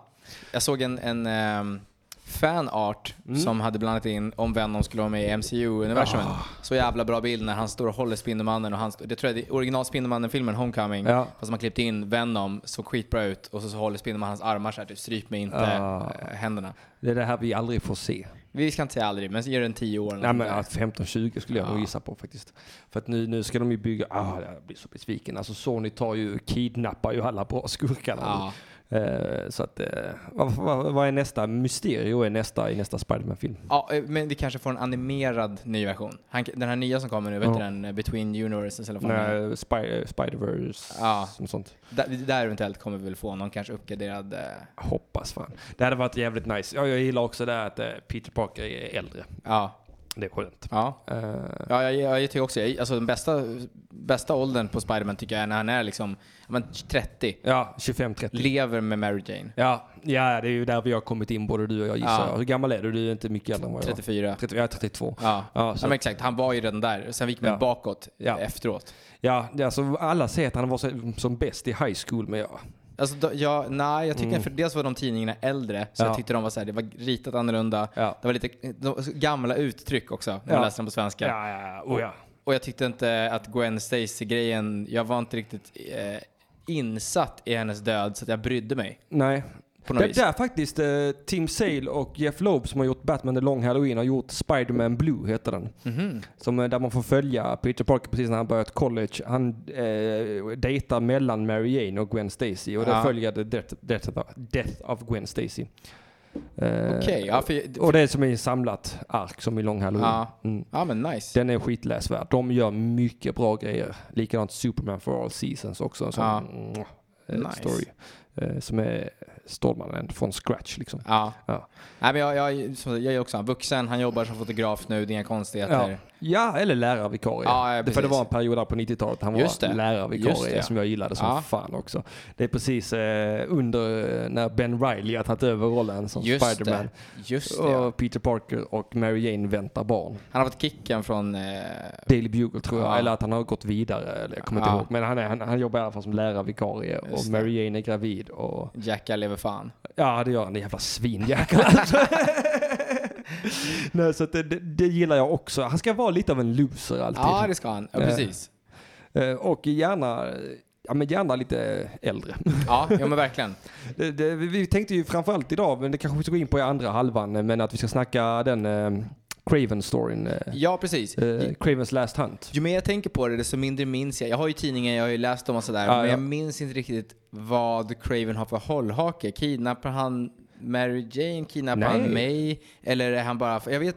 Jag såg en, en ehm, fanart Mm. som hade blandat in om Venom skulle vara med i MCU-universumet. Ah. Så jävla bra bild när han står och håller Spindelmannen och han, står- det tror jag det är original Spindelmannen-filmen Homecoming. Ja. Fast man klippte in Venom, såg skitbra ut och så, så håller Spindelmannen hans armar såhär, typ stryp mig inte Ja. eh, händerna. Det är det här vi aldrig får se. Vi ska inte säga aldrig, men ge den 10 år. eller Nej, något men sånt där. att 15-20 skulle jag nog gissa på faktiskt. För att nu, nu ska de ju bygga... Ah, jag blir så besviken. Alltså Sony tar ju, kidnappar ju alla bra skurkarna. Ja. Eh, så att, eh, vad, vad, vad är nästa? Mysterio är nästa i nästa Spiderman-film. Ja, eh, men vi kanske får en animerad ny version. Han, den här nya som kommer nu, vet du Ja. den? eh, Between Universes eller vad fan den När Spy- eh, Spider-Verse Ja. och sånt. Där, där eventuellt kommer vi väl få någon kanske uppgraderad... eh, Hoppas fan. Det hade varit jävligt nice. Ja, jag gillar också det här att eh, Peter Parker är äldre. Ja. Det är skönt. Ja. Eh, Ja, jag, jag, jag tycker också, jag, alltså den bästa, bästa åldern på Spiderman tycker jag är när han är liksom, ja, men 30. ja, 25-30. Lever med Mary Jane. Ja, ja, det är ju där vi har kommit in både du och jag gissar Ja. jag. Hur gammal är du? Du är inte mycket äldre än vad jag är. 34. 30, jag är 32. Ja. Ja, Ja, så- men exakt, han var ju redan där. Sen gick man Ja. bakåt Ja. efteråt. Ja, det är alltså, alla säger att han var så- som bäst i high school, men jag... Alltså, då, ja, nej, jag tycker för dels var de tidningarna äldre, så Mm. Ja. jag tyckte de var så här, det var ritat annorlunda. Ja. Det var lite de, gamla uttryck också, när Ja. man läste dem på svenska. Ja, ja, ja. Oh, ja. Och jag tyckte inte att Gwen Stacy-grejen, jag var inte riktigt eh, insatt i hennes död så att jag brydde mig. Nej. På något Det är vis. där faktiskt eh, Tim Sale och Jeff Loeb som har gjort Batman The Long Halloween har gjort Spider-Man Blue heter den. Mhm, Som, eh, där man får följa Peter Parker precis när han börjar ett college. Han eh, dejtar mellan Mary Jane och Gwen Stacy och där Ja. följer det death, death, death of Gwen Stacy. Eh, Okej, ja, för, Och det är som i en samlat ark som i Long Halloween. Ja. Mm. ja men nice. Den är skitläsvärd. De gör mycket bra grejer. Likadant Superman for All Seasons också. En sån Ja. mwah, eh, Nice. story. Eh, Som är Stålmannen från scratch liksom. Ja. Ja. Nej, men jag, jag, som sagt, jag är också en vuxen, han jobbar som fotograf nu, det är inga konstigheter. Ja. ja, eller lärarvikarie. Ja, ja, det, för det precis. var en period där på 90-talet han Just var det. Just lärarvikarie det, ja. som jag gillade som Ja. fan också. Det är precis eh, under eh, när Ben Reilly har tagit över rollen som Just Spiderman. det. Just det. Och Peter Parker och Mary Jane väntar barn. Han har fått kicken från... Eh, Daily Bugle tror jag, Ja. eller att han har gått vidare. Eller jag kommer inte Ja. ihåg. Men han, är, han, han jobbar i alla fall som lärarvikarie och Just det. Mary Jane är gravid. Och, Jacka lever fan. ja, det gör han. Det jävla svinjäkel alltså. Nej, så att det, det, det gillar jag också. Han ska vara lite av en loser alltid. Ja, det ska han. Ja, Eh. precis. Eh, Och gärna, ja, men gärna lite äldre. Ja, ja, men verkligen. Det, det, vi- vi tänkte ju framförallt idag, men det kanske vi ska gå in på i andra halvan, eh, men att vi ska snacka den eh, Craven-storyn. Eh, Ja, precis. eh, Cravens Last Hunt. Ju mer jag tänker på det, desto mindre minns jag. Jag har ju tidningen, jag har ju läst dem och sådär. Ja, men ja. jag minns inte riktigt vad Craven har för hållhake. Kidnappar han Mary Jane? Kidnappar Nej. han mig? Eller är han bara... Jag vet...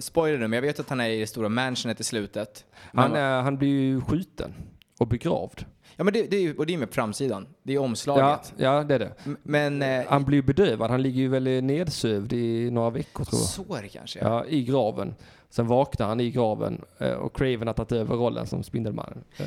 Spoiler nu, men jag vet att han är i det stora mansionet i slutet. Men Han, eh, han blir ju skjuten och begravd. Ja, men det, det är ju, och det är med på framsidan. Det är Ja, omslaget. ja, det är det. M- Men... Eh, Han blir ju bedövad. Han ligger ju väl nedsövd i några veckor tror jag. så är det kanske. Ja, I graven. Sen vaknar han i graven eh, och Craven har tagit över rollen som Spindelmannen. Eh,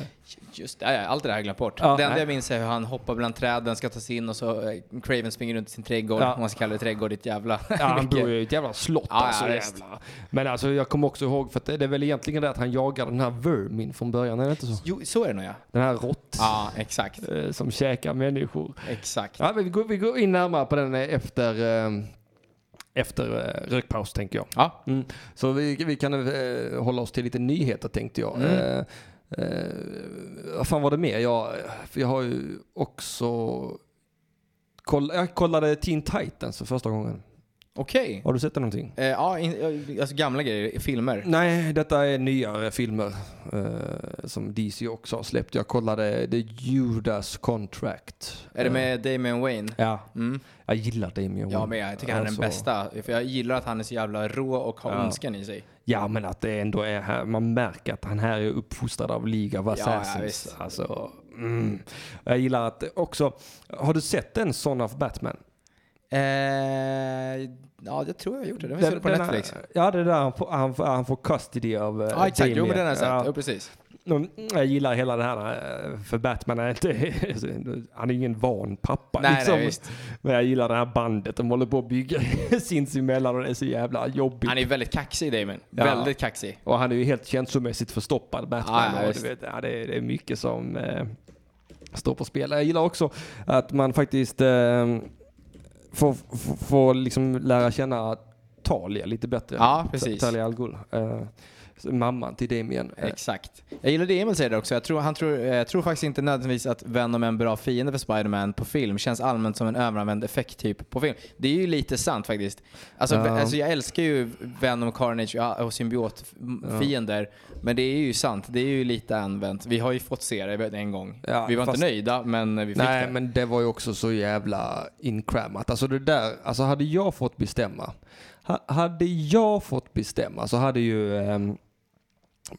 Just det, ja, ja, allt det där har jag glömt bort. Ja, det enda nej. jag minns är hur han hoppar bland träden, ska ta sig in och så eh, Craven springer runt i sin trädgård, Ja. om man ska kalla det trädgård, ditt jävla... Ja, han mycket. bor ju i ett jävla slott Ja, ja, alltså. visst. jävlar. Men alltså jag kommer också ihåg, för att det det är väl egentligen det att han jagar den här Vermin från början, är det inte så? Jo, så är det nog ja. Den här rått Ja, exakt. eh, som käkar människor. Exakt. Ja, men vi, går, vi går in närmare på den eh, efter, eh, efter eh, rökpaus tänker jag. Ja. Mm. Så vi, vi kan eh, hålla oss till lite nyheter tänkte jag. Mm. Eh, eh, vad fan var det mer? Jag, för jag har ju också... Koll, jag kollade Teen Titans för första gången. Okej. Har du sett någonting? Eh, ja, in, alltså gamla grejer, filmer. Nej, detta är nyare filmer eh, som DC också har släppt. Jag kollade The Judas Contract. Är det Eh, med Damian Wayne? Ja, Mm. jag gillar Damien Ja, Wayne. men jag tycker han är den Alltså, bästa. För jag gillar att han är så jävla rå och har Ja. ondskan i sig. Ja, men att det ändå är här. Man märker att han här är uppfostrad av League of ja, Assassins. visst. alltså, mm. Jag gillar att också... Har du sett den Son of Batman? Eh, ja, jag tror jag har gjort det. Den finns väl på Den- eh, Netflix? Ja, det är där han får, han får, han får custody av eh, Ja, exakt. Jo, men den har jag sett. Ja. Jo, precis. Mm, Jag gillar hela det här, eh, för Batman är inte, han är ingen van pappa Nej, liksom. nej, visst. Men jag gillar det här bandet de håller på att bygga sinsemellan och det är så jävla jobbigt. Han är väldigt kaxig, Damon. Ja. Väldigt kaxig. Och han är ju helt känslomässigt förstoppad, Batman. Ja, ja, och du visst. vet, ja, det, är, det är mycket som eh, står på spel. Jag gillar också att man faktiskt eh, får, får, får liksom lära känna Talia lite bättre. Ja, precis. Talia Al Ghul. Eh, mamman till Damien. Eh, Exakt. Jag gillar det Emil säger där också. Jag tror, han tror, eh, jag tror faktiskt inte nödvändigtvis att Venom är en bra fiende för Spider-Man på film. Känns allmänt som en överanvänd effekttyp på film. Det är ju lite sant faktiskt. Alltså, Ja. ve- alltså jag älskar ju Venom, Carnage ja, och symbiotfiender. Men det är ju sant. Det är ju lite använt. Vi har ju fått se det en gång. Ja, vi var fast- inte nöjda, men vi fick Nej, det. men det var ju också så jävla inkramat. Alltså det där, alltså hade jag fått bestämma, ha, hade jag fått bestämma så hade ju ehm,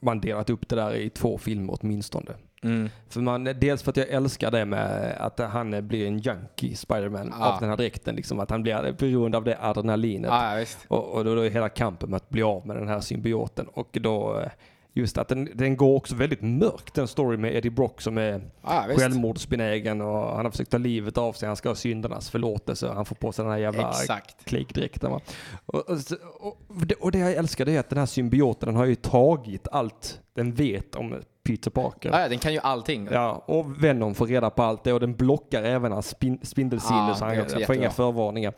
man delat upp det där i två filmer åtminstone. Mm. För man, dels för att jag älskar det med att han blir en junkie, Spiderman, Ja. av den här dräkten. Liksom, att han blir beroende av det adrenalinet. Ja, ja, visst. Och, och då, då är hela kampen med att bli av med den här symbioten. Och då, eh, just att den, den går också väldigt mörkt, den story med Eddie Brock som är Ja, visst. självmordsbenägen och han har försökt ta livet av sig. Han ska ha syndernas förlåtelse. Han får på sig den här jävla Exakt. klikdräkten. Va? Och, och, så- och, det- och det jag älskar det är att den här symbioten den har ju tagit allt den vet om Peter Parker. Ja, ja, den kan ju allting. Ja, och Venom får reda på allt det och den blockar även hans spin- spindelsinne Ah, så det är han också får jättebra. inga förvarningar.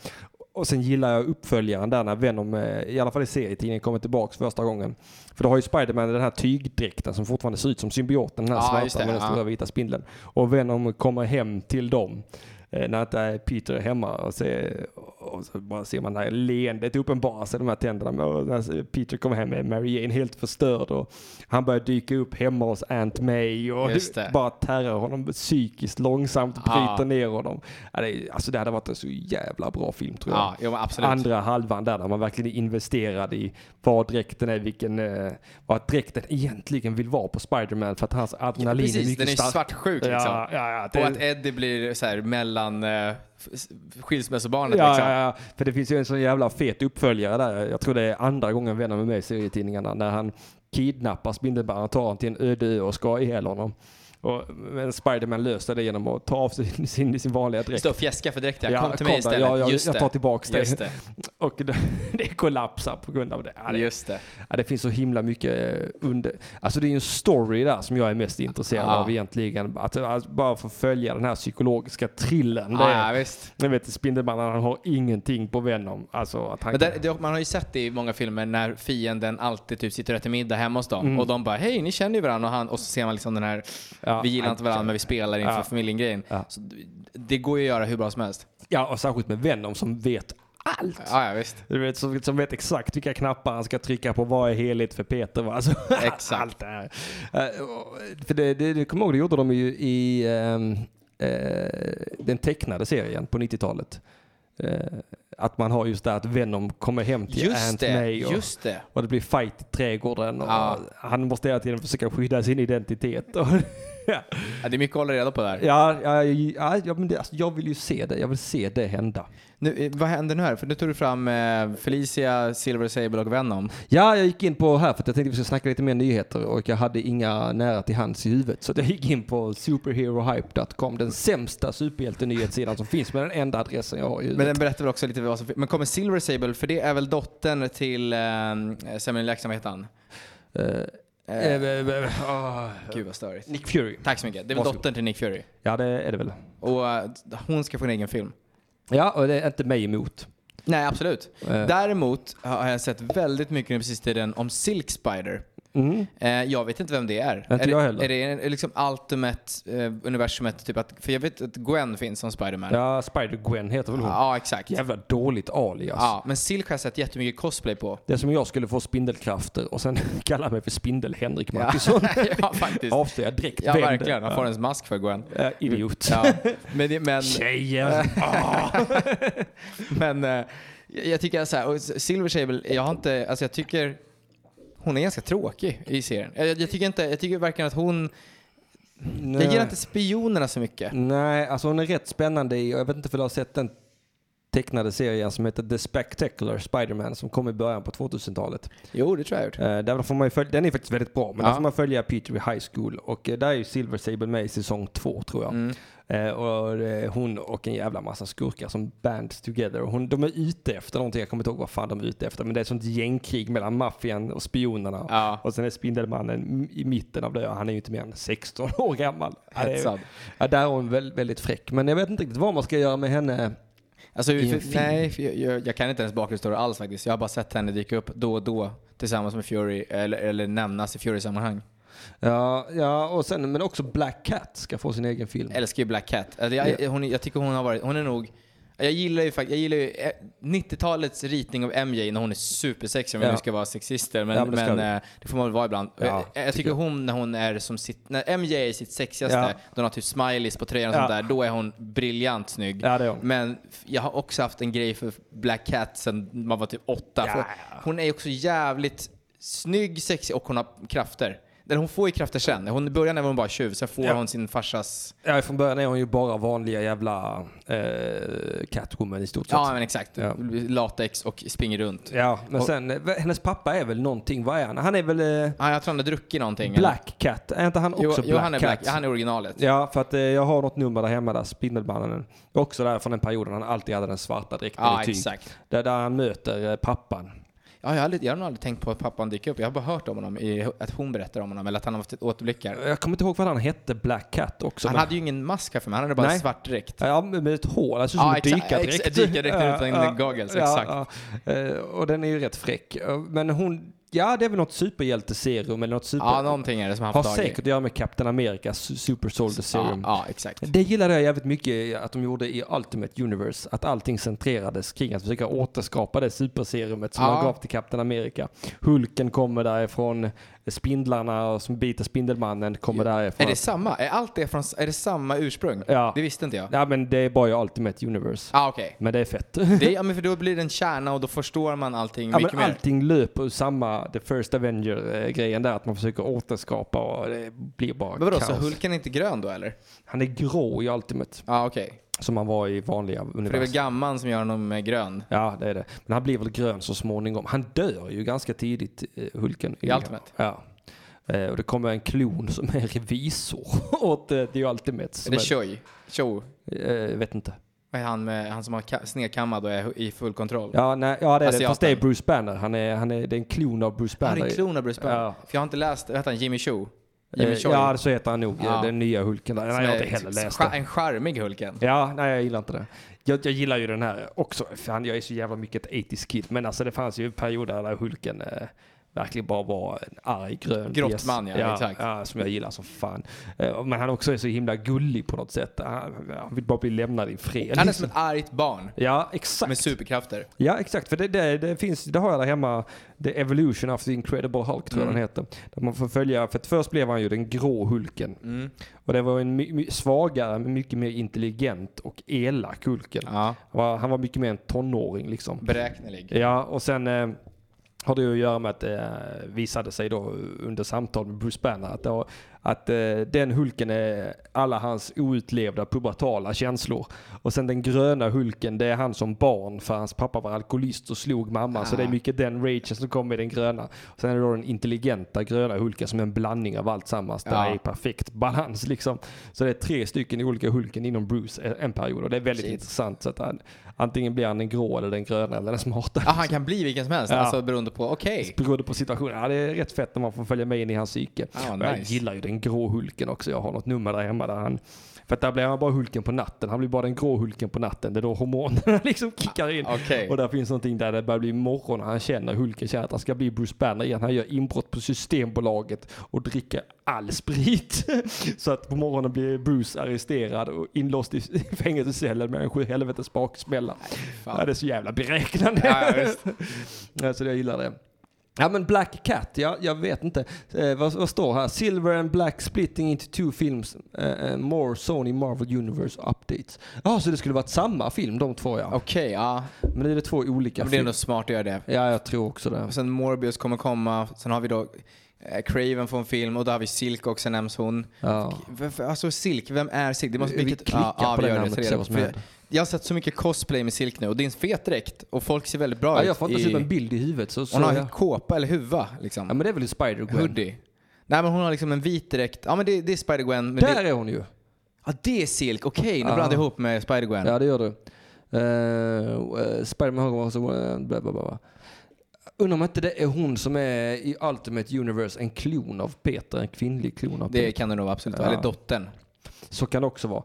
Och sen gillar jag uppföljaren där när Venom, eh, i alla fall i serietidningen, kommer tillbaks första gången. För då har ju Spiderman den här tygdräkten som fortfarande ser ut som symbioten, den här Ah, just svarta det, med den ah. stora vita spindeln. Och Venom kommer hem till dem eh, när inte eh, Peter är hemma och, ser, och så bara ser man det här leendet uppenbara sig, de här tänderna. Och när Peter kommer hem är Mary Jane helt förstörd och han börjar dyka upp hemma hos Aunt May och Just det. bara terrar honom psykiskt långsamt, bryter Ja. ner honom. Ja, det är- Alltså det hade varit en så jävla bra film tror jag. Ja, jo, men absolut. Andra halvan där, där man verkligen är investerad i vad dräkten är, vilken, eh, vad dräkten egentligen vill vara på Spider-Man för att hans adrenalin precis, är mycket den är stark. svartsjuk, liksom. Ja, ja, ja, det- Och att Eddie blir så här mellan eh, f- skilsmässobarnet Ja, liksom. ja, ja, för det finns ju en sån jävla fet uppföljare där. Jag tror det är andra gången Venom är med i serietidningarna när han kidnappar Spindelmannen, tar honom till en öde ö och ska ihjäl honom. Och, men Spiderman löste det genom att ta av sin, sin, sin vanliga dräkt. Stå och fjäska för direkt, Ja, ja. Kom till kom mig där. istället. Ja, ja, Just jag det. tar tillbaks det. Just det. Och det, det kollapsar på grund av det. Ja, det, Just det. Ja, det finns så himla mycket eh, under... Alltså det är ju en story där som jag är mest intresserad Ja. av egentligen. Att, att bara få följa den här psykologiska thrillern. Mm, Det, Ja, ja, visst. jag vet Spindelmannen, han har ingenting på Venom. Alltså att han Men kan- där, det, man har ju sett det i många filmer när fienden alltid typ sitter och äter middag hemma hos Mm. dem och de bara hej ni känner ju varandra och, han, och så ser man liksom den här Ja, vi gillar han inte varandra men vi spelar inför Ja. familjen grejen. Ja. Så d- det går ju att göra hur bra som helst. Ja, och särskilt med Venom som vet allt. Ja, ja visst. Du vet, som, som vet exakt vilka knappar han ska trycka på. Vad är heligt för Peter? Va? Alltså, Exakt. Allt det här. Eh, och- För det, det, det kommer jag ihåg, det gjorde de ju i ehm, eh, den tecknade serien på 90-talet. Eh, att man har just det att Venom kommer hem till Just Aunt det, May och, just det. och det blir fight i trädgården. Och Ja. Han måste hela tiden försöka skydda sin identitet. Och ja, Ja, det är mycket att hålla reda på där. ja, ja, ja, ja, men det, alltså, jag vill ju se det. Jag vill se det hända. Nu, eh, vad händer nu här? För nu tog du fram eh, Felicia, Silver Sable och Venom. Ja, jag gick in på här för att jag tänkte vi skulle snacka lite mer nyheter och jag hade inga nära till hands i huvudet. Så jag gick in på superherohype.com, den sämsta superhjältenyhetssidan som finns med den enda adressen jag har i Men huvudet. den berättar väl också lite vad som Men kommer Silver Sable, för det är väl dottern till eh, Samuel Jackson, vad heter han? Eh, eh, eh, ah, Gud vad störigt. Nick Fury. Tack så mycket. Det är väl Varsågod. dottern till Nick Fury. Ja, det är det väl. Och eh, hon ska få en egen film. Ja, och det är inte mig emot. Nej, absolut. Eh. Däremot har jag sett väldigt mycket nu på sista tiden om Silk Spider. Mm. Eh, jag vet inte vem det är. Inte är jag det, heller. Är det en- liksom Ultimate eh, universumet? Typ att, för jag vet att Gwen finns som Spiderman. Ja, Spider-Gwen heter väl hon. ja exakt. Jävla dåligt alias. Ja, men Silk har jag sett jättemycket cosplay på. Det är som om jag skulle få spindelkrafter och sen kalla mig för Spindel-Henrik Mattisson. ja, faktiskt. Avslöjar direkt Ja, vem det- verkligen. Han får ens mask för Gwen. Ja, Äh, idiot. Ja, men, det- men, Tjejer. men eh, jag jag tycker så här, och S- Silver Sable, jag har inte, alltså jag tycker hon är ganska tråkig i serien. Jag, jag tycker inte, jag tycker verkligen att hon, jag gillar inte spionerna så mycket. Nej, alltså hon är rätt spännande i, och jag vet inte om du har sett den tecknade serien som heter The Spectacular Spider-Man som kom i början på 2000-talet. Jo, det tror jag jag har gjort. Eh, där får man ju följa, den är faktiskt väldigt bra, men där Ja. får man följa Peter i high school och eh, där är ju Silver Sable med i säsong två tror jag. Eh, och eh, hon och en jävla massa skurkar som bands together. Och Hon, de är ute efter någonting, jag kommer inte ihåg vad fan de är ute efter, men det är ett sånt gängkrig mellan maffian och spionerna. Ja. Och sen är Spindelmannen m- i mitten av det och han är ju inte mer än 16 år gammal. Ja, det är- Hetsad. Ja, där är hon väl, väldigt fräck. Men jag vet inte riktigt vad man ska göra med henne. Alltså, I en för, film. nej, för jag, jag, jag kan inte ens bakgrundsstory alls faktiskt. Jag har bara sett henne dyka upp då och då tillsammans med Fury, eller, eller nämnas i Fury-sammanhang. Ja, ja och sen, men också Black Cat ska få sin egen film. Älskar ju Black Cat. Alltså, jag, Ja. hon, jag tycker hon har varit, hon är nog, jag gillar ju faktiskt, jag gillar ju eh, 90-talets ritning av MJ när hon är supersexig om vi Ja. nu ska vara sexister. Men, Ja, men det ska men, vi. eh, det får man väl vara ibland. Ja, Eh, jag, tycker, tycker jag. hon när hon är som sitt, när MJ är sitt sexigaste, Ja. då hon har typ smileys på tröjan och Ja. sånt där, då är hon briljant snygg. Ja, det är hon. Men f- jag har också haft en grej för Black Cat sen man var typ åtta. Ja, För ja. Hon är också jävligt snygg, sexig och hon har krafter. Eller hon får ju krafter sen. Hon, I början är hon bara tjuv, sen får Ja. hon sin farsas... Ja, från början är hon ju bara vanliga jävla eh, Catwoman i stort sett. Ja, men exakt. Ja. Latex och springer runt. Ja, men Och- sen, eh, hennes pappa är väl någonting, vad är han? Han är väl eh, Ja, Ah, jag tror han har druckit någonting. eller? Black Cat? Är inte han också Jo, Black jo, han är Cat? Black. Han är originalet. Ja, för att eh, jag har något nummer där hemma där, Spindelmannen. Också där från den perioden han alltid hade den svarta dräkten Ja, i tyg. exakt. Där, där han möter eh, pappan. Ja, jag, har aldrig, jag har nog aldrig tänkt på att pappan dyker upp. Jag har bara hört om honom, i, att hon berättar om honom, eller att han har haft återblickar. Jag kommer inte ihåg vad han hette, Black Cat också. Han men- hade ju ingen mask här för mig, han hade bara Nej. en svart dräkt. Ja, med ett hål. Alltså som Ja, en exa- dykardräkt. ex- dykardräkt utan goggles, exakt. ja. Eh, Och den är ju rätt fräck. Eh, Men hon, ja det är väl något superhjälteserum eller något super... Ja, någonting är det som han har får tag i. säkert att göra med Captain Americas Super Soldier Ja, Serum. ja, exakt. Det gillade jag jävligt mycket att de gjorde i Ultimate Universe. Att allting centrerades kring att försöka återskapa det superserumet som Ja. man gav till Captain America. Hulken kommer därifrån, spindlarna och som biter Spindelmannen kommer därifrån. Är det samma? Är allt det från, är det samma ursprung? Ja. Det visste inte jag. Ja, ja men det är bara i Ultimate Universe. ah, okej. Men det är fett. Det- Ja, men för då blir det en kärna och då förstår man allting Ja, mycket men mer. allting löper ur samma The First Avenger-grejen där, att man försöker återskapa och det blir bara Men vadå, kaos. så Hulken är inte grön då eller? Han är grå i Ultimate, Ja, ah, okej. som han var i vanliga För det är väl universum. gamman som gör honom eh, grön? Ja, det är det. Men han blir väl grön så småningom. Han dör ju ganska tidigt, eh, Hulken. I Ultimate? Ja. Eh, Och det kommer en klon som är revisor åt eh, The Ultimate. Är Som det Choi? Cho? är, eh, vet inte. Vad är han, med, han som har ka- snedkammad och är i full kontroll? Ja, nej, ja det är det. Asiaten. Fast det är Bruce Banner. Han är, han är, det är en klon av Bruce Han Banner. är en klon av Bruce Banner. Ja. För jag har inte läst, vad heter han, Jimmy Cho? Jimmy Eh, Choi? Ja, så heter han nog. eh, Ja. Den nya Hulken. Där. Som Nej, jag har är inte heller läst scha- det. En charmig Hulken. Ja, nej jag gillar inte det. Jag, jag gillar ju den här också. Fan, jag är så jävla mycket ett 80s kid. Men alltså det fanns ju perioder där Hulken eh, verkligen bara var en arg grön Grått bjäs. man, ja, exakt. Ja, som jag gillar som fan. Eh, men han också är så himla gullig på något sätt. Han, han vill bara bli lämnad i fred. Han är som ett argt barn Ja, exakt. med superkrafter. Ja, exakt. För det, det, det finns, det har jag där hemma, The Evolution of the Incredible Hulk Mm. tror jag den heter. Där man får följa, för att först blev han ju den grå Hulken. Och det var en my, my, svagare, men mycket mer intelligent och elak Hulken. Ja. Han var- Han var mycket mer en tonåring liksom. Beräknelig. Ja, och sen eh, har det ju att göra med att det eh, visade sig då under samtal med Bruce Banner att, det har, att eh, den Hulken är alla hans outlevda pubertala känslor. Och sen den gröna Hulken, det är han som barn för hans pappa var alkoholist och slog mamma. Så det är mycket den ragen som kommer i den gröna. Och sen är det då den intelligenta gröna Hulken som är en blandning av allt sammans. Där Ja. är perfekt balans liksom. Så det är tre stycken olika Hulken inom Bruce eh, en period. Och det är väldigt Shit. intressant. Så att han, antingen blir han den grå eller den gröna eller den smarta. Ja, han kan bli vilken som helst, Ja. alltså beroende på, okej. Beroende på situationen. Ja, det är rätt fett när man får följa med in i hans psyke. Ja, Och Jag nice. gillar ju den grå Hulken också. Jag har något nummer där hemma där han... För att där blir han bara Hulken på natten. Han blir bara den grå Hulken på natten. Det är då hormonerna liksom kickar in. Okej. Och där finns någonting där det börjar bli morgon. Han känner Hulken känner att han ska bli Bruce Banner igen. Han gör inbrott på Systembolaget och dricker all sprit. Så att på morgonen blir Bruce arresterad och inlåst i fängelsecellen med en sju helvetes baksmälla. fan. Ja, det är så jävla beräknande. Ja, ja, visst. Ja, så jag gillar det. Ja men Black Cat, ja, jag vet inte. Eh, vad, vad står här? Silver and Black splitting into two films. eh, eh, more Sony Marvel Universe updates. Ja, så det skulle varit samma film de två ja. Okej, ja. Men det är det två olika Men det är filmer. nog smart att göra det. Ja, jag tror också det. Och sen Morbius kommer komma, sen har vi då eh, Craven från film och då har vi Silk också nämns hon. Ja. V- v- Alltså Silk, vem är Silk? Det måste Vi vilket- klickar på det gör namnet så och det ser är- vad som för händer. Jag har sett så mycket cosplay med Silk nu och det är en fet dräkt och folk ser väldigt bra Ja, ut. jag får inte i- se en bild i huvudet så... så Hon har ja. en kåpa eller huva liksom. ja men det är väl Spider-Gwen? Hoodie. Nej men hon har liksom en vit dräkt. Ja men det, det är Spider-Gwen. men Där Det, är hon ju. ja det är Silk, okej nu Ja. blandade jag ihop med Spider-Gwen. Ja det gör du. Uh, uh, Spiderman har också... eh, Bla, bla, bla, bla. Undrar om inte det är hon som är i Ultimate Universe en klon av Peter, en kvinnlig klon av Det Peter. kan det nog absolut vara. Ja. Eller dottern. Så kan det också vara.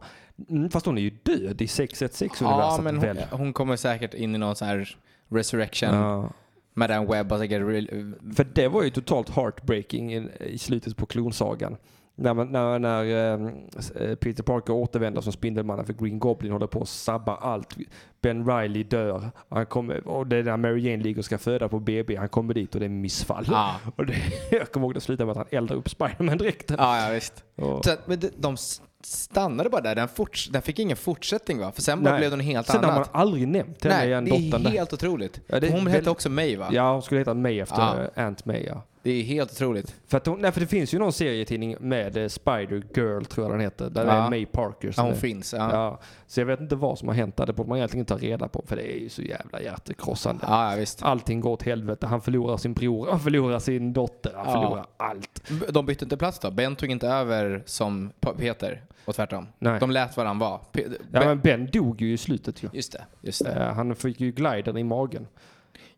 Mm, fast hon är ju död i 616 Ja universum men väl? hon, hon kommer säkert in i någon sån här resurrection. Ja. Madame alltså, Webb har säkert... Real, För det var ju totalt heartbreaking i, i slutet på klonsagan. När, man, när, när ehm, s- eh, Peter Parker återvänder som Spindelmannen för Green Goblin håller på att sabba allt. Ben Riley dör. Han kommer, och det är när Mary Jane ligger och ska föda på BB. Han kommer dit och det är missfall. Ja. Och det, jag kommer ihåg det slutade med att han eldar upp Spiderman-dräkten. ja, ja visst. Och- Så att, men de, de stannade bara där. Den, forts, den fick ingen fortsättning va? För sen bara Nej. blev den helt Sen har man annat. aldrig nämnt henne Nej, igen, det är dottern. där. helt otroligt. Ja, det är hon väl- hette också May va? Ja, hon skulle heta May efter Ja. eh, Aunt May. Ja. Det är helt otroligt. För, att hon, nej, för det finns ju någon serietidning med eh, Spider Girl tror jag den heter. Där det Ja. är May Parker. Ja, som hon är- finns. Ja. Ja. ja. Så jag vet inte vad som har hänt där. Det borde man egentligen inte ta reda på. För det är ju så jävla hjärtekrossande. Ja, visst. Allting går åt helvete. Han förlorar sin bror, han förlorar sin dotter, han Ja. förlorar allt. De bytte inte plats då? Ben tog inte över som Pa- Peter och tvärtom. Nej. De lät varandra vara. Pe- Ja, Ben- men Ben dog ju i slutet ju. Just det. Just det. Eh, Han fick ju glidern i magen.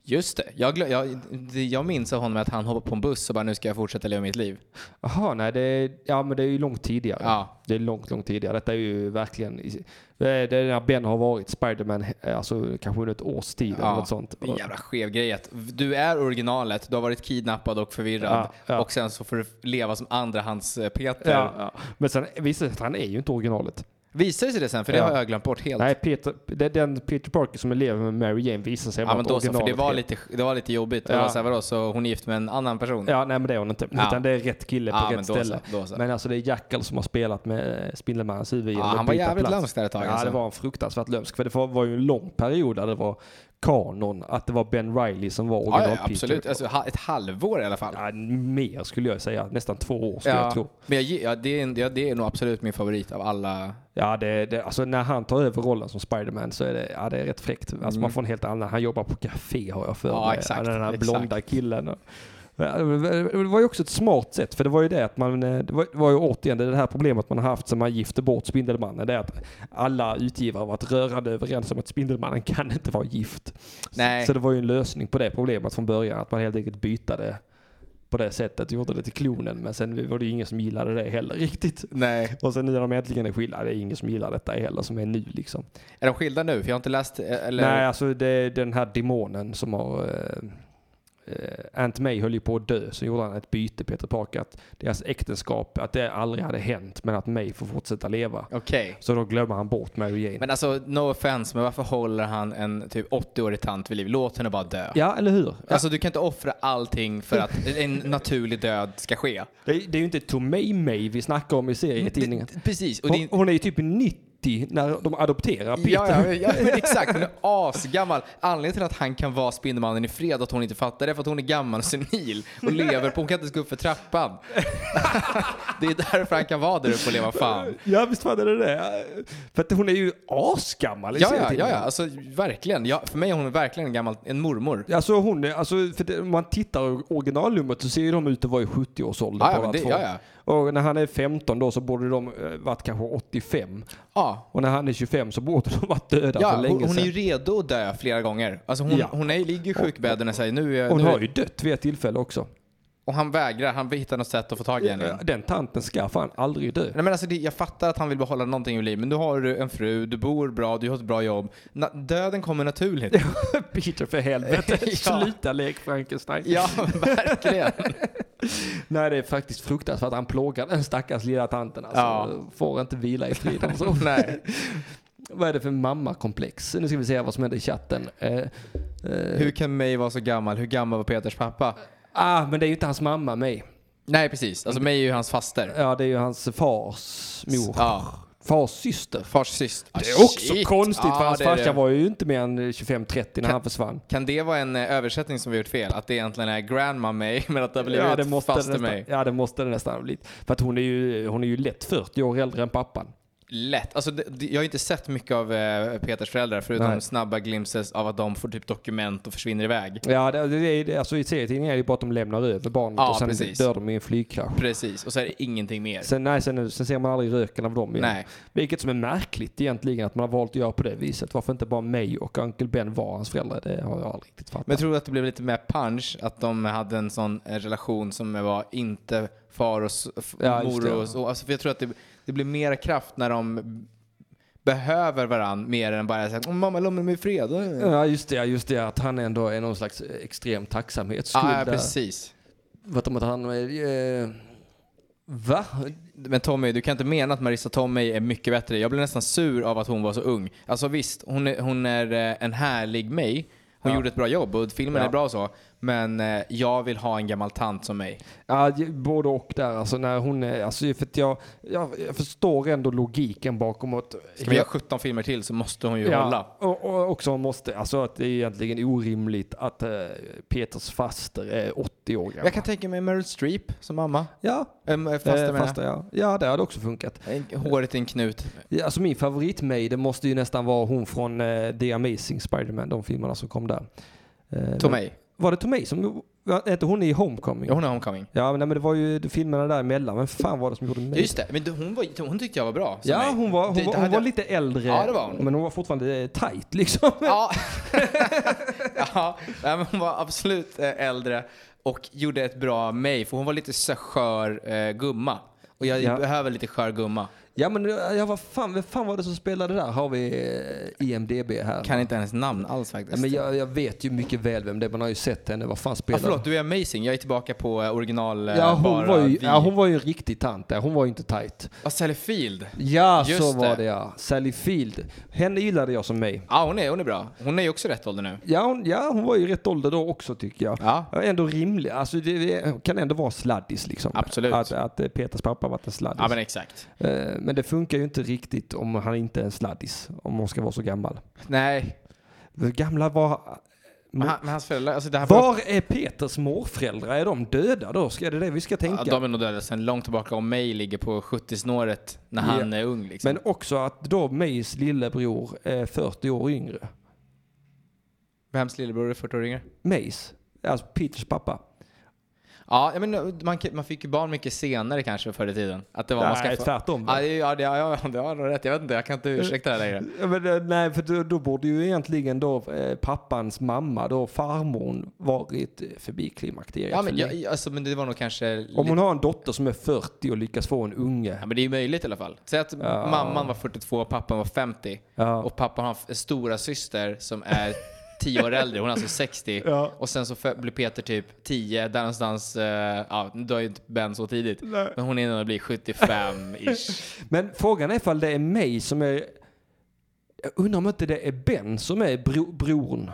Just det. Jag, glö- jag, det- jag minns av honom att han hoppade på en buss och bara nu ska jag fortsätta leva mitt liv. Jaha, nej det är, ja, men det är ju långt tidigare. Ja. Det är långt, långt tidigare. Detta är ju verkligen... i- Det är när Ben har varit Spiderman, eh, alltså kanske under ett års tid eller Ja. något sånt. Det är en jävla skev grej att du är originalet, du har varit kidnappad och förvirrad Ja, ja. och sen så får du leva som andrahands-Peter. Ja, ja. Men sen visar det sig att han är ju inte originalet. Visar det sig det sen? För det Ja. har jag glömt bort helt. Nej, Peter, det är den Peter Parker som lever med Mary Jane visar sig ja, men då så, för det originalet var, helt. lite, det var lite jobbigt. Det Ja. var så, här, vadå, så hon är gift med en annan person? Ja, nej men det är hon inte. Ja. Utan det är rätt kille på Ja, men rätt då så, ställe. då så. Men alltså det är Jackal som har spelat med eh, Spindelmannens huvud. genom han att var byta jävligt plats. lömsk där ett tag, Ja, alltså. det var en fruktansvärt lömsk. För det var- var ju en lång period där det var kanon att det var Ben Reilly som var Ja, original ja, Peter. absolut. Alltså, ha- ett halvår i alla fall. Ja, mer skulle jag säga. Nästan två år skulle jag tro. Men jag, ge- ja, det, är, en- ja, det är nog absolut min favorit av alla. Ja, det, det, alltså när han tar över rollen som Spiderman så är det, ja, det är rätt fräckt. Alltså man får en helt annan, han jobbar på café har jag för Mm. Ja, mig. exakt, Den här exakt. blonda killen. Och- Ja, Det det var ju också ett smart sätt, för det var ju det att man, eh, det var, det var ju återigen det här problemet man har haft sedan man gifte bort Spindelmannen, det är att alla utgivare har varit rörande överens om att Spindelmannen kan inte vara gift. Nej. Så, så det var ju en lösning på det problemet från början, att man helt enkelt bytade på det sättet, gjorde det till klonen, men sen var det ju ingen som gillade det heller riktigt. Nej. Och sen nu när de äntligen är skilda, det är ingen som gillar detta heller som är nu liksom. Är de skilda nu? För jag har inte läst... eh, Eller... Nej, alltså det är den här demonen som har... eh, eh, Aunt May höll ju på att dö, så gjorde han ett byte Peter Parker att deras äktenskap, att det aldrig hade hänt, men att May får fortsätta leva. Okej. Så då glömmer han bort Mary Jane. Men alltså, no offense, men varför håller han en typ 80-årig tant vid liv? Låt henne bara dö. ja, eller hur? Alltså du kan inte offra allting för att en naturlig död ska ske. Det, är- det är ju inte Tomei May vi snackar om i serietidningen. Det- Precis. Och det, Hon, hon är ju typ 90 när de adopterar Peter. Ja, ja, ja men exakt. Hon är asgammal. Anledningen till att han kan vara Spindelmannen i fred och att hon inte fattar det är för att hon är gammal och senil och lever på, hon kan inte ens gå upp för trappan. det är därför han kan vara där uppe och leva fan. Ja, visst fan är det det. För att hon är ju asgammal i Ja, ja, ja, serietidningen. ja. Alltså verkligen. Ja, för mig är hon verkligen en gammal, en mormor. Alltså hon är, alltså för det, om man tittar originalnumret så ser ju de ut att vara i 70-årsåldern Ja, ja, båda men det- två. ja, ja. Och när han är 15 då så borde de eh, varit kanske 85. Ja. Och när han är 25 så borde de varit döda Ja, för länge hon, hon är sedan. ju redo att dö flera gånger. Alltså hon, Ja. hon är, ligger i sjukbädden och säger nu, är- Hon nu är- har ju dött vid ett tillfälle också. och han vägrar, han hittar något sätt att få tag i henne. Den tanten ska fan aldrig dö. Nej, men alltså det, jag fattar att han vill behålla någonting i livet, men du har du en fru, du bor bra, du har ett bra jobb. Na, döden kommer naturligt. Peter för helvete, Ja. sluta lek Frankenstein. ja, verkligen. Nej det är faktiskt fruktansvärt. Han plågar den stackars lilla tanten alltså. Ja. Får inte vila i frid. Alltså. Nej. Vad är det för mammakomplex? Nu ska vi se vad som händer i chatten. Eh, eh, Hur kan May vara så gammal? Hur gammal var Peters pappa? Ah, men det är ju inte hans mamma mig. Nej, precis. Alltså May är ju hans faster. Ja, det är ju hans fars mor. Ja. Fars syster. Fars syster. Det är också Shit. konstigt för Ja, hans det är det. farsa var ju inte mer än 25-30 när han försvann. Kan det vara en eh, översättning som vi gjort fel? Att det egentligen är grandma May, men att det har blivit Ja det, måste det faster nästan, May? ja, det måste det nästan ha blivit. För att hon är ju, hon är ju lätt 40 år äldre än pappan. Lätt. Alltså, det, det- jag har inte sett mycket av eh, Peters föräldrar, förutom Nej. snabba glimpses av att de får typ dokument och försvinner iväg. Ja, det, det, är- det, alltså i serietidningen är det ju bara att de lämnar över barnet Ja, och sen precis. dör de i en flygkrasch. Precis, och så är det ingenting mer. Sen, nej, sen, sen ser man aldrig röken av dem igen. Nej. Vilket som är märkligt egentligen att man har valt att göra på det viset. Varför inte bara mig och Uncle Ben var hans föräldrar? Det har jag aldrig riktigt fattat. Men tror du att det blev lite mer punch? Att de hade en sån eh, relation som var inte far och s- f- Ja, just mor det, och ja. så? Alltså, för jag tror att det, det blir mer kraft när de behöver varandra mer än bara säga "Åh, mamma lämna mig i fred. Ja just det, ja, just det att han ändå är någon slags extrem tacksamhetsskuld. Ja, ja, där. precis. Vet du att han... Eh, va? Men Tommy, du kan inte mena att Marissa Tomei är mycket bättre. Jag blev nästan sur av att hon var så ung. Alltså visst, hon är, hon är eh, en härlig mig. Hon Ja. gjorde ett bra jobb och filmen Ja. är bra och så. Men eh, jag vill ha en gammal tant som mig. Ja, j- både och där. Alltså när hon är, alltså för att jag, jag, jag förstår ändå logiken bakom att... Ska vi göra 17 filmer till så måste hon ju hålla. Och, och också måste, alltså att det är egentligen orimligt att eh, Peters faster är 80 år gammal. Jag kan tänka mig Meryl Streep som mamma. Ja, Ähm, fast, eh, faster, ja. ja, det hade också funkat. Håret i en knut. Ja, Alltså min favoritmaiden måste ju nästan vara hon från eh, The Amazing Spider-Man, de filmerna som kom där. Eh, Tomei. Var det Tomei som... Var inte hon i Homecoming? Ja, Hon är homecoming. Ja, men, nej, men det var ju filmerna däremellan. Vem fan var det som gjorde mig? Just det, men du- hon, var, hon tyckte jag var bra. som Ja, mig. hon var, hon, Det- det var, hon hade var jag- lite äldre. Ja, det var hon. Men hon var fortfarande eh, tight liksom. Ja. ja, nej, men hon var absolut eh, äldre och gjorde ett bra mig, för hon var lite så här skör eh, gumma. Och jag Ja. behöver lite skör gumma. Ja, men eh, ja, vad, fan, vem fan var det som spelade där? Har vi eh, IMDB här? Kan inte hennes namn alls ja, faktiskt. men jag, jag vet ju mycket väl vem det är. Man har ju sett henne. Vad fan ah, spelade förlåt, du är amazing. Jag är tillbaka på eh, original eh, Ja, hon bara var ju, vi. ja, hon var ju en riktig tant där. Hon var ju inte tight. Ah, Sally Field. Ja, Just så var det. det ja. Sally Field. Henne gillade jag som mig. Ja, hon är, hon är bra. Hon är ju också rätt ålder nu. Ja hon, ja, hon var ju rätt ålder då också tycker jag. Ja. Ja, Ändå rimlig. Alltså det är- kan ändå vara sladdis liksom. Absolut. Att, att eh, Peters pappa varit en sladdis. Ja, men exakt. Eh, Men det funkar ju inte riktigt om han inte är en sladdis, om hon ska vara så gammal. Nej, Hur Gamla var... men, han, men hans föräldrar, alltså det här Var är Peters morföräldrar? Är de döda då? Ska är det det vi ska Ja, tänka? de är nog döda sen långt tillbaka och mig ligger på 70-snåret när Ja. han är ung liksom. Men också att då Mays lillebror är 40 år yngre. Vems lillebror är 40 år yngre? Mays, alltså Peters pappa. Ja, jag men eh, man, kan- man fick ju barn mycket senare kanske förr i tiden. Att det var man Nej, ska få... tvärtom. Ja, det, ja, det, ja, ja, det har du rätt. Jag vet inte, jag kan inte ursäkta det längre. Ja, men, eh, nej, för då, då borde ju egentligen då eh, pappans mamma, då farmorn, varit eh, förbi klimakteriet Ja, för men, länge. jag, alltså, men det var nog kanske... Om lite- hon har en dotter som är 40 och lyckas få en unge. Ja, men det är ju möjligt i alla fall. Säg att mamman var 42 och pappan var 50. Ja. Och pappan har en stora syster som är 10 år äldre, hon är alltså 60. Ja. Och sen så fö- blir Peter typ 10, där någonstans, uh, ja nu dör ju inte Ben så tidigt. Nej. Men hon är nog bli 75-ish. Men frågan är ifall det är mig som är... Jag undrar om inte det är Ben som är bro, bron.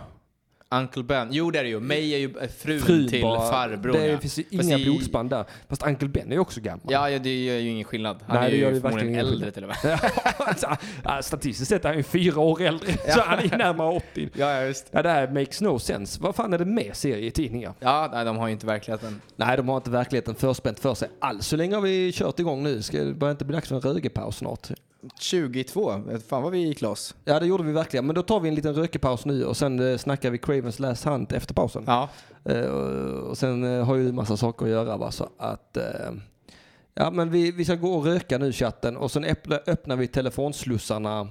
Uncle Ben, jo det är det ju. May är ju eh, frun, Frun till bara. farbror. Det ja. finns ju Fast inga i- blodsband där. Fast Uncle Ben är ju också gammal. Ja, ja, det gör ju ingen skillnad. Han Nej, är det ju gör det förmodligen verkligen ingen äldre till och med. alltså, ja, statistiskt sett är han ju fyra år äldre. Så han är ju närmare 80. Ja, ja, just Ja, det här makes no sense. Vad fan är det med serietidningar? Ja, nej, de har ju inte verkligheten. Nej, de har inte verkligheten förspänt för sig alls. Så länge har vi kört igång nu. Ska det börjar inte bli dags för en rögepaus snart? 22, Eh, fan vad vi gick loss. Ja, det gjorde vi verkligen. Men då tar vi en liten rökepaus nu och sen eh, snackar vi Cravens Last Hunt efter pausen. Ja, Eh, och sen eh, har ju du massa saker att göra va, så att... Eh, ja, men vi, vi ska gå och röka nu chatten och sen öppna, öppnar vi telefonslussarna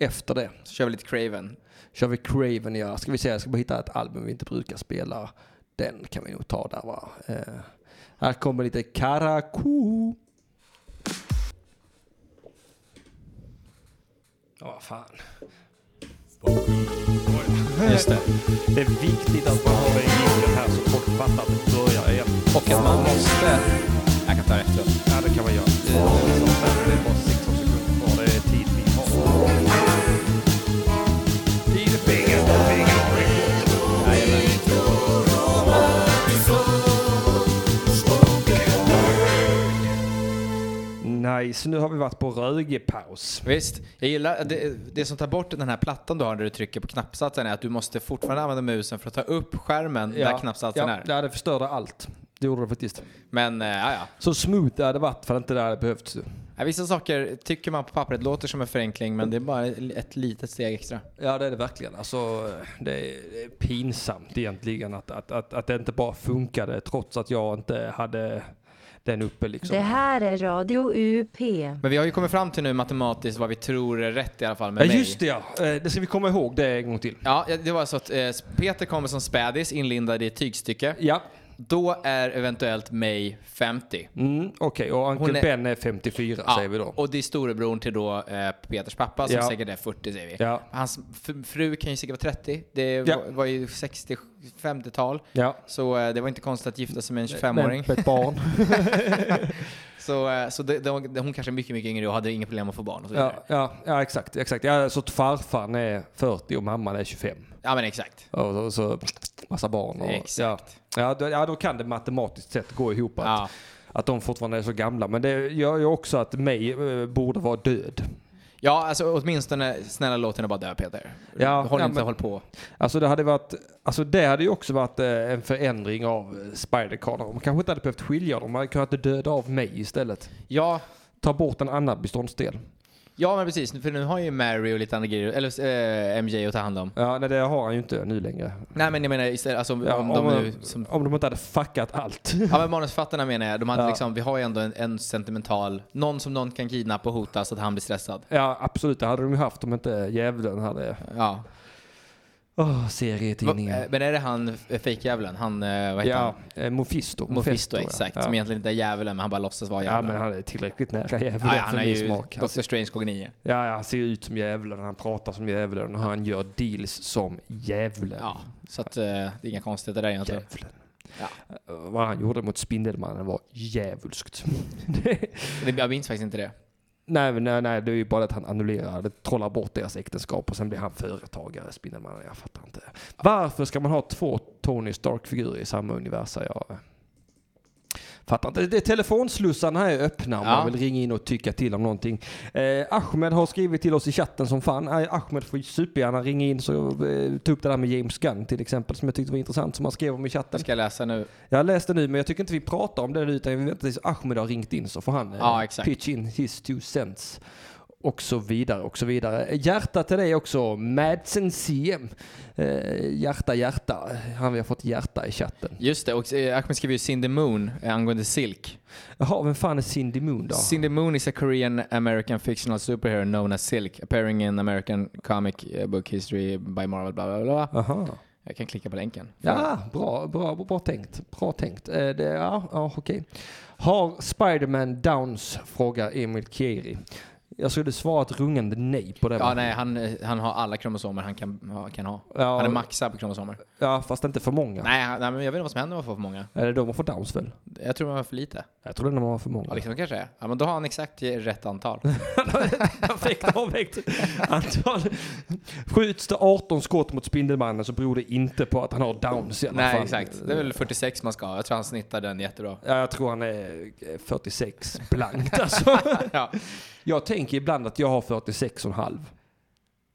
efter det. så kör vi lite Craven. Kör vi Craven, ja. Ska vi se, jag ska bara hitta ett album vi inte brukar spela. Den kan vi nog ta där va. Eh, här kommer lite Karakou. Ja, vad fan. Just det. Det är viktigt att man har en jingle här så folk fattar att det börjar igen. Och att man måste... Jag kan ta det efteråt. Ja, det kan man göra. Det är som sagt, det är bara 16 sekunder kvar. Det är tid vi har. Tid är pengar och pengar är gott. Nice, nu har vi varit på rögepaus. Visst, jag gillar eh, det, det som tar bort den här plattan du har när du trycker på knappsatsen är att du måste fortfarande använda musen för att ta upp skärmen där knappsatsen ja, är. Ja, det förstörde allt. Det gjorde det faktiskt. Men eh, ja, ja. Så smooth det hade varit för att inte det hade behövts. Ja, Vissa saker tycker man på pappret låter som en förenkling men det är bara ett litet steg extra. Ja det är det verkligen. Alltså, det är det är pinsamt egentligen att, att, att, att det inte bara funkade trots att jag inte hade den uppe liksom. Det här är Radio UP. Men vi har ju kommit fram till nu matematiskt vad vi tror är rätt i alla fall med ja mig. just det ja, Eh, det ska vi komma ihåg det en gång till. Ja, det var så att eh, Peter kommer som spädis inlindad i ett tygstycke. Ja, Då är eventuellt mig 50. mm, okej och Hon Uncle är- Ben är 54 säger vi då. Och det är storebror till då eh, Peters pappa som Ja. säkert är 40 säger vi. Ja. Hans f- fru kan ju säkert vara 30. Det Ja. var, var ju 60-50-tal. Ja. Så eh, det var inte konstigt att gifta sig med en 25-åring. Men ett barn. Så, eh, så det, det, hon kanske är mycket, mycket yngre och hade inga problem att få barn och så ja, vidare. Ja, ja, ja exakt, exakt. Ja, så att farfar är 40 och mamman är 25. men exakt. Och så, så massa barn. Och, Exakt. Ja, ja, då, ja, då kan det matematiskt sett gå ihop att, Ja. att de fortfarande är så gamla. Men det gör ju också att mig eh, borde vara död. Ja, alltså åtminstone snälla låt henne bara dö Peter. Ja, håll ja, inte men- håll på. Alltså det hade varit, alltså det hade ju också varit eh, en förändring av eh, Spider-Carner. Man kanske inte hade behövt skilja dem, man hade kunnat döda av mig istället. Ja, Ta bort en annan beståndsdel. ja men precis. För nu har ju Mary och lite andra grejer, eller eh, MJ att ta hand om. Ja, nej, det har han ju inte nu längre. Nej men jag menar istället, alltså om, Ja, om om, de nu... om, Som, om de inte hade fuckat allt. ja men manusförfattarna menar jag, de hade Ja. liksom, vi har ju ändå en, en sentimental, någon som någon kan kidnappa och hota så att han blir stressad. Ja, absolut. Det hade de ju haft om inte djävulen hade... Ja. Åh, Va, serietidningen. eh, men är det han, eh, fejkdjävulen, han, eh, vad heter ja, han? eh, Mofisto. Mephisto ja. exakt, Ja. som egentligen inte är djävulen men han bara låtsas vara Ja, djävulen. men han är tillräckligt nära Ja, djävulen ja, för han är min ju smak. alltså. Han, Dr. Strange Kognie. ja, ja, han ser ut som djävulen, han pratar som djävulen och han gör deals som djävulen. Ja, så att eh, det är inga konstigheter där egentligen. Djävulen. Ja. Eh, Vad han gjorde mot Spindelmannen var djävulskt. Det- Det- Jag minns faktiskt inte det. nej, men nej, nej, det är ju bara att han annullerar, det trollar bort deras äktenskap och sen blir han företagare, Spindelmannen. Jag fattar inte. Varför ska man ha två Tony Stark-figurer i samma universum? Jag eh, fattar inte. Det, telefonslussarna här är öppna om Ja. man vill ringa in och tycka till om någonting. Eh, Ahmed har skrivit till oss i chatten som fan. Eh, Ahmed får ju supergärna ringa in så eh, tog upp det där med James Gunn till exempel som jag tyckte var intressant som han skrev om i chatten. Jag ska läsa nu. Jag läste nu, men jag tycker inte vi pratar om det nu, utan vi väntar tills Ahmed har ringt in så får han eh, Ja, exakt. pitch in his two cents. Och så vidare, och så vidare. Hjärta till dig också, Madsen CM. Eh, hjärta, hjärta. Han har fått hjärta i chatten. Just det, och eh, Ahmed skriver ju Cindy Moon eh, angående Silk. Jaha, vem fan är Cindy Moon då? Cindy Moon is a Korean American fictional superhero known as Silk, appearing in American comic eh, book history by Marvel, bla bla bla. Aha. Jag kan klicka på länken. Ja, bra, bra, bra tänkt. Bra tänkt. Eh, det, ja, ja, okej. Har Spiderman Downs? Frågar Emil Kieri. Jag skulle svara ett rungande nej på det. Ja, va? nej, han, eh, han har alla kromosomer han kan, ha- kan ha. Ja, Han är maxad på kromosomer. ja, fast inte för många. Nej, han- nej, men jag vet inte vad som händer om man får för många. Är det de man får Downs väl? Jag tror man har för lite. Jag trodde de var för många. Ja, liksom, det kan- kanske är. Ja, men då har han exakt rätt antal. Perfekt avvägt antal. Skjuts det 18 skott mot Spindelmannen så beror det inte på att han har downs i alla nej, fall. exakt. Det är väl 46 man ska ha. Jag tror han snittar den jättebra. Ja, jag tror han är eh, 46 blankt alltså. Ja. Jag tänker ibland att jag har 46 och en halv.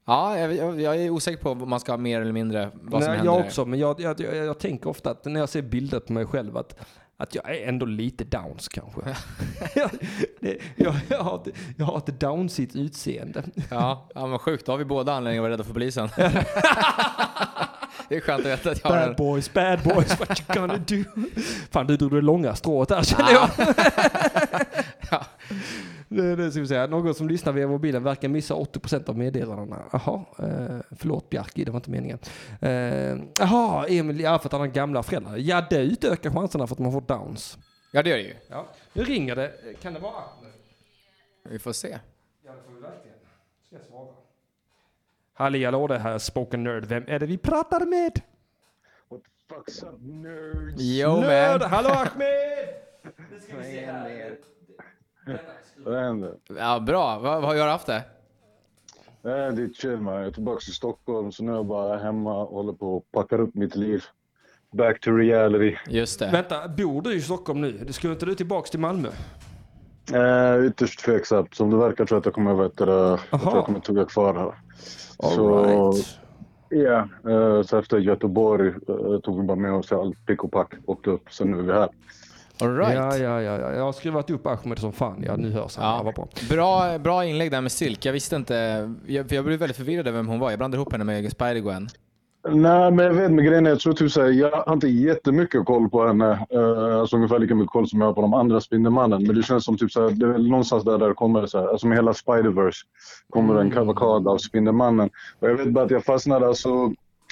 Ja, jag, jag, jag är osäker på om man ska ha mer eller mindre. Vad som Nej, händer. jag också, men jag, jag, jag, jag tänker ofta att när jag ser bilder på mig själv att, att jag är ändå lite downs kanske. jag, det, jag, jag, har, ett- jag har ett downsigt utseende. Ja, ja men sjukt. Då har vi båda anledningar att vara rädda för polisen. det är skönt att veta att jag har Bad en... boys, bad boys, what you gonna do? Fan, du drog det långa strået där känner jag. Ja. Det, det ska vi säga. Någon som lyssnar via mobilen verkar missa 80% av meddelandena. Jaha, eh, förlåt Bjarki, det var inte meningen. Eh, Jaha, Emil, ja för att han har gamla föräldrar. Ja, det utökar chanserna för att man får downs. Ja, det gör det ju. Ja. Nu ringer det. Kan det vara Ahmed? Vi får se. Ja, det får vi verkligen. Ska jag svara? Halli hallå, det här är Spoken Nerd. Vem är det vi pratar med? Fucks up nerds. Jo, Nörd! men... Hallå Ahmed! Vad händer? Ja, bra. Vad, vad har jag haft det? Nej, det är chill man. Jag är tillbaka till Stockholm så nu är jag bara hemma och håller på och packar upp mitt liv. Back to reality. Just det. Vänta, bor du i Stockholm nu? Du skulle inte du tillbaks till Malmö? Eh, ytterst tveksamt. Som det verkar tror jag att jag kommer, vet, du, jag tror Aha. jag kommer tugga kvar här. All så right. ja, eh, så efter Göteborg eh, tog vi bara med oss allt pick och pack, åkte upp, så nu är vi här. All right. Ja, ja, Ja, ja, ja. Jag har skruvat upp Ahmed som fan. Ja, nu hörs han. Ja. vad bra. Bra, bra inlägg där med Silk. Jag visste inte... Jag, för jag blev väldigt förvirrad över vem hon var. Jag blandade ihop henne med Spider-Gwen. Nej, men jag vet, men grejen är jag tror typ såhär, jag har inte jättemycket koll på henne. Uh, alltså ungefär lika mycket koll som jag har på de andra Spindelmannen. Men det känns som typ såhär, det är väl någonstans där det kommer såhär, alltså med hela Spider-Verse kommer Mm. det en kavalkad av Spindelmannen. Och jag vet bara att jag fastnade alltså,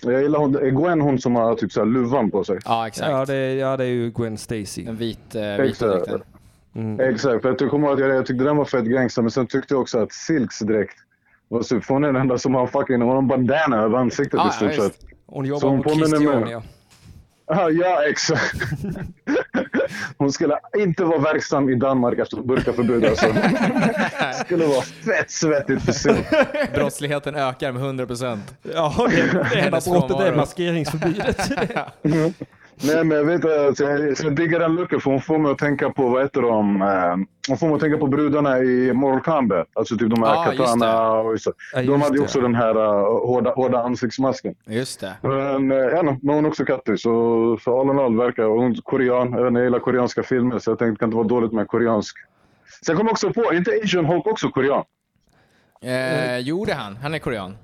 jag gillar hon, är Gwen hon som har typ såhär luvan på sig? Ja, exakt. Ja det, är- ja, det är ju Gwen Stacy. Den vit, eh, vita Exakt. dräkten. Exakt, för jag tycker- kommer ihåg att jag, jag tyckte den var fett gangster, men sen tyckte jag också att Silks dräkt var super. För Hon är den enda som har fucking, hon har en bandana över ansiktet Ja, i stort ja, sett. visst. Hon Så jobbar hon på påminner mig. Christiania. Ja, ja exakt. Hon skulle inte vara verksam i Danmark efter burkaförbud alltså. Det skulle vara fett svettigt för sig. Brottsligheten ökar med 100%. Ja, det, det enda Hennes brottet är frånvaro. maskeringsförbudet. Nej, men jag vet att jag, jag diggar den luckan för hon får mig att tänka på, vad heter de? Eh, Hon får mig att tänka på brudarna i Mortal Kombat. Alltså typ de här Ah, just katana och så. Ja, De just hade ju det. också den här eh, hårda, hårda ansiktsmasken. Just det. Men, eh, ja, no, men hon är också kattig, så, så all in all verkar och hon är korean. Jag vet inte, jag gillar koreanska filmer, så jag tänkte det kan inte vara dåligt med koreansk. Sen kom jag också på, är inte Asian Hulk också korean? Mm. Eh, jo, det är han. Han är korean.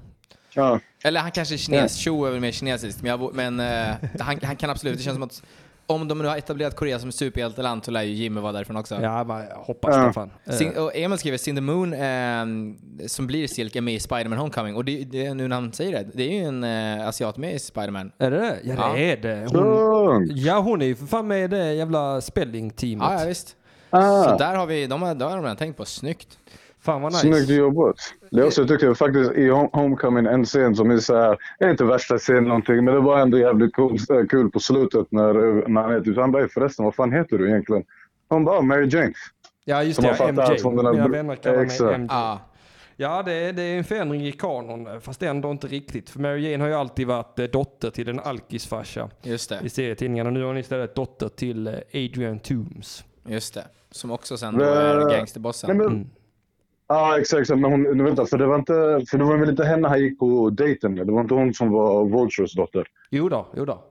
Ja. Eller han kanske är kines. Cho är väl mer kinesiskt. Men, jag, vå- men eh, han, han kan absolut. Det känns som att om de nu har etablerat Korea som ett superhjälteland så lär ju Jimmy vara därifrån också. ja, man hoppas Ja. det fan. Eh, Sin, och Emil skriver Sin the Moon ehm, som blir Silk är med i Spider-Man Homecoming. Och det, det, nu när han säger det, det är ju en eh, asiat med i Spider-Man. Är det det? Ja, det Ja. är det. Hon, Tung! ja, hon är ju för fan med i det jävla spelling-teamet. Ja, ja, visst. Så Ah, där har vi, de har, de har de redan tänkt på. Snyggt. Fan vad nice. snyggt jobbat. Det är också, jag tycker faktiskt i Home- Homecoming en scen som är så här, det är inte värsta scenen någonting, men det var ändå jävligt cool, eh, kul på slutet när, när han är typ, han bara, förresten vad fan heter du egentligen? Hon bara, Mary Jane. Ja, just Som det. Ja, man fattar MJ. allt från den här Mina bro- vänner kallar mig Exakt. MJ. Ja. Ja, det är, det är en förändring i kanon, fast ändå inte riktigt. För Mary Jane har ju alltid varit eh, dotter till en alkisfarsa Just det. i serietidningarna. Nu är hon istället dotter till eh, Adrian Toomes. Just det. Som också sen då är gangsterbossen. Nej, men, Ja, exakt. exakt. Men hon, nu vänta, för det, var inte, för det var väl inte henne han gick på dejten med? Det var inte hon som var Vultures dotter? Jo då, jo då.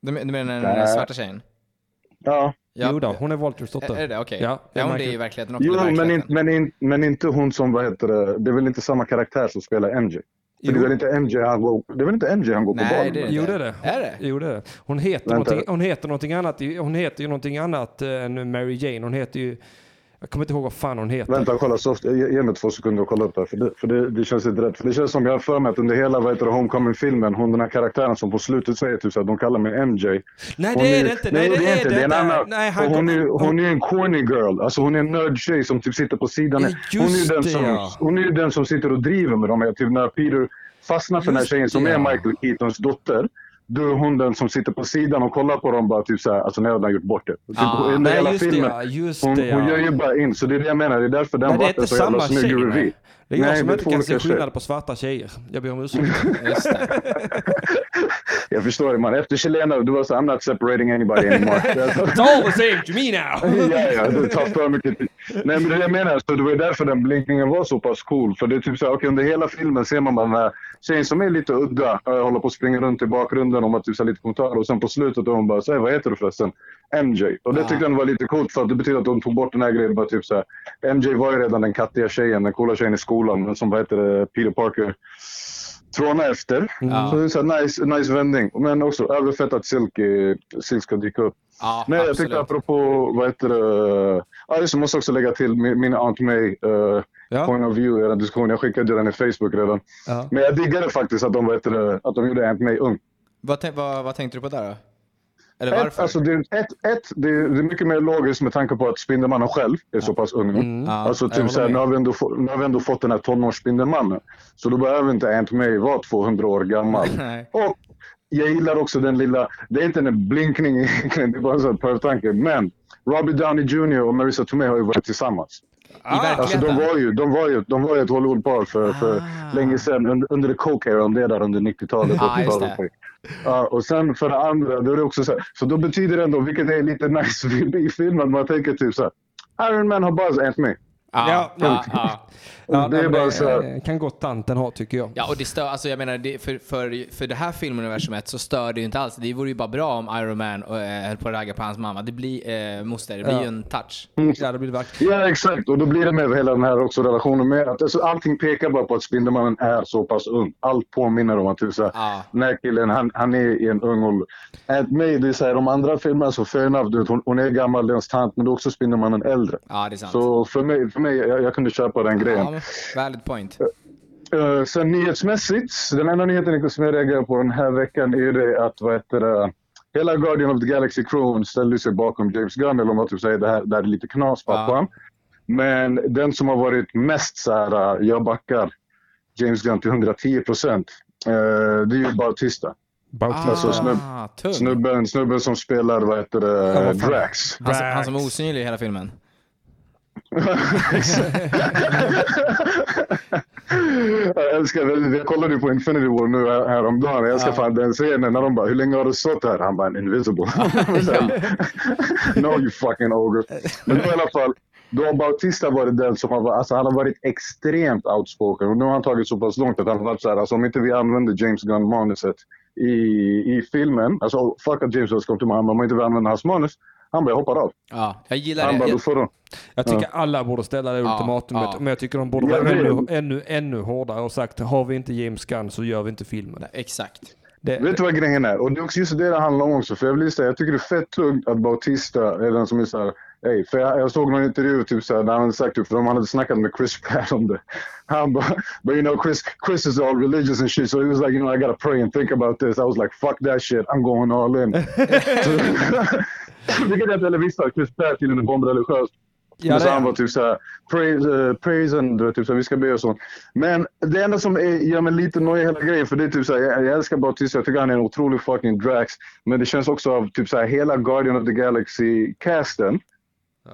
Du men- du menar den där Nej. svarta tjejen? Ja. Ja. Jo då, hon är Vultures Är dotter. är det det? Okej. Ja, Ja, hon det är Michael- i verkligheten också. Jo, det är men, in, verkligheten. men, in, men inte hon som, vad heter det, det är väl inte samma karaktär som spelar MJ? För Jo. det är väl inte MJ han går, det är väl inte MJ han går på Nej, barn det är med? det Jo inte. det är det. Är det? Jo, det, är det. Hon, heter Vänta. någonting, hon heter någonting annat. i- Hon heter ju någonting annat eh, än Mary Jane. Hon heter ju... Jag kommer inte ihåg vad fan hon heter. Vänta, kolla. Soft, ge, ge mig två sekunder och kolla upp det här, för det, för det, det känns inte rätt. För det känns som, jag har för mig att under hela vad heter det, Homecoming-filmen, hon den här karaktären som på slutet säger typ så att de kallar mig MJ. Nej Hon det är det inte. Nej, det är inte. det en inte. annan- Nej, han och hon, är, kom- hon är en corny girl. Alltså hon är en nördtjej som typ sitter på sidan. Hon är, ju Just den det, som, ja. hon är ju den som sitter och driver med dem. Typ när Peter fastnar för den här Just tjejen som det, är ja. Michael Keatons dotter. Då är hon den som sitter på sidan och kollar på dem bara typ såhär, alltså nu har jag redan gjort bort det. Typ, Ah, under nej, hela just det, filmen. ja, just hon, det, ja. hon gör ju bara in, så det är det jag menar. Det är därför den Nej, det är vart en inte så jävla samma snygg tjej. revy. nej. Det är jag Nej, som det är inte två kan olika se skillnad tjejer. på svarta tjejer. Jag ber om ursäkt. Just det. Jag förstår det man. Efter Chilena, du var såhär, I'm not separating anybody anymore. It's all the same to me now! ja, ja, det tar för mycket tid. Nej, men det är det jag menar, så det var ju därför den blinkningen var så pass cool. För det är typ så här, okej, under hela filmen ser man bara den här tjejen som är lite udda, eh, håller på att springa runt i bakgrunden och man typ så här lite kommentarer. Och sen på slutet då hon bara, säger vad heter du förresten? MJ. Och det tyckte jag var lite coolt för att det betyder att de tog bort den här grejen. Bara typ så här, MJ var ju redan den kattiga tjejen, den coola tjejen i skolan, men som vad heter det, Peter Parker tråna efter. Så det är så här, nice, nice vändning. Men också överfett att Silk, eh, Silk ska dyka upp. Ja, Nej, jag absolut. tyckte apropå, vad heter det? Ja, just det, måste också lägga till min, min Aunt May eh, Ja. point of view i den diskussionen. Jag skickade ju den i Facebook redan. Ja. Men jag diggade faktiskt att de, vad heter det, att de gjorde Aunt May ung. Vad, tän- vad, vad tänkte du på där då? Eller Ett, varför? alltså det, är- ett, ett, det, är, det är mycket mer logiskt med tanke på att Spindelmannen själv är så pass ung. Mm. Ja, alltså jag typ håller såhär, med. nu, har vi ändå få, nu har vi ändå fått den här tonårsspindelmannen. Så då behöver inte Aunt May vara 200 år gammal. Nej. Och jag gillar också den lilla, det är inte en blinkning egentligen, det är bara en sån här pervtanke. Men Robbie Downey Jr och Marissa Tomei har ju varit tillsammans. I Alltså verkligheten? de var ju, de var ju, de var ju ett Hollywoodpar för, för länge sedan, under, under the coke era, om det är där under 90-talet. Ah, 80-talet. just Ja, och sen för det andra, då är det också så, här, så då betyder det ändå, vilket är lite nice i filmen, man tänker typ så här, Iron Man har Buzz Ant May. ja, ja, ja. Ja, det nej, är men bara så här. eh, kan gott tanten ha tycker jag. Ja, och det stör, alltså jag menar, det, för, för, för det här filmuniversumet så stör det ju inte alls. Det vore ju bara bra om Iron Man och, eh, höll på att ragga på hans mamma. Det blir, eh, moster, det blir ju en touch. Mm. Ja, det blir det verkligen. Ja, exakt. Och då blir det med hela den här också relationen med att alltså, allting pekar bara på att Spindelmannen är så pass ung. Allt påminner om att typ, så här, Ja. den här killen, han, han är i en ung ålder. Att mig, det är så här, de andra filmerna så fair enough, du vet, hon, hon är gammal, det är hennes tant, men då är också Spindelmannen äldre. Ja, det är sant. Så för mig, för mig jag, jag kunde köpa den grejen. Ja, men valid point. Eh, sen nyhetsmässigt, den enda nyheten som jag reagerar på den här veckan är ju det att vad heter det, hela Guardian of the Galaxy-crewn ställde sig bakom James Gunn, eller om man typ säger det här, det här är lite knas pappa. Men den som har varit mest så här, eh, jag backar James Gunn till 110 procent, det Eh, är ju Bautista. Bautista. Alltså, snubb- Ah, tung. Snubben, snubben som spelar, vad heter det, vad fan. Drax. Han, som- han Drax. som är osynlig i hela filmen. Jag älskar, jag kollade ju på Infinity War nu här- häromdagen. Jag älskar fan den scenen när de bara, hur länge har du stått här? Han bara, invisible. no you fucking ogre. Men då i alla fall, då har Bautista varit den som har, varit- alltså han har varit extremt outspoken. Och nu har han tagit så pass långt att han har varit såhär, alltså om inte vi använder James Gunn-manuset i, i filmen, alltså fuck att James Gunn kom till mig, han bara, om inte vi använder hans manus, han bara, jag hoppar av. Ja, jag gillar Han bara, det. då får de. Jag tycker alla borde ställa det ultimatumet, ja. men jag tycker de borde Jag vara vet. ännu, ännu, ännu hårdare och sagt har vi inte James Gunn så gör vi inte filmen. Exakt. Det, Vet du vad grejen är? Och det är också just det det handlar om också. För jag vill säga, jag tycker det är fett tungt att Bautista är den som är såhär, hej. För jag, jag såg någon intervju typ såhär, där han hade sagt typ, för de hade snackat med Chris Pratt om det. Han bara, but you know Chris, Chris is all religious and shit. So he was like, you know I gotta pray and think about this. I was like, fuck that shit, I'm going all in. Så- Vilket jag inte heller visste, att Chris Pratt till en bombreligiös. Ja, Men så det är han han. var typ såhär, praise, eh, praise and du vet, typ såhär, vi ska be och sånt. Men det enda som är, gör mig lite nojig i hela grejen, för det är typ såhär, jag, jag älskar Bautista, jag tycker han är en otrolig fucking Drax. Men det känns också av typ såhär, hela Guardian of the Galaxy-casten.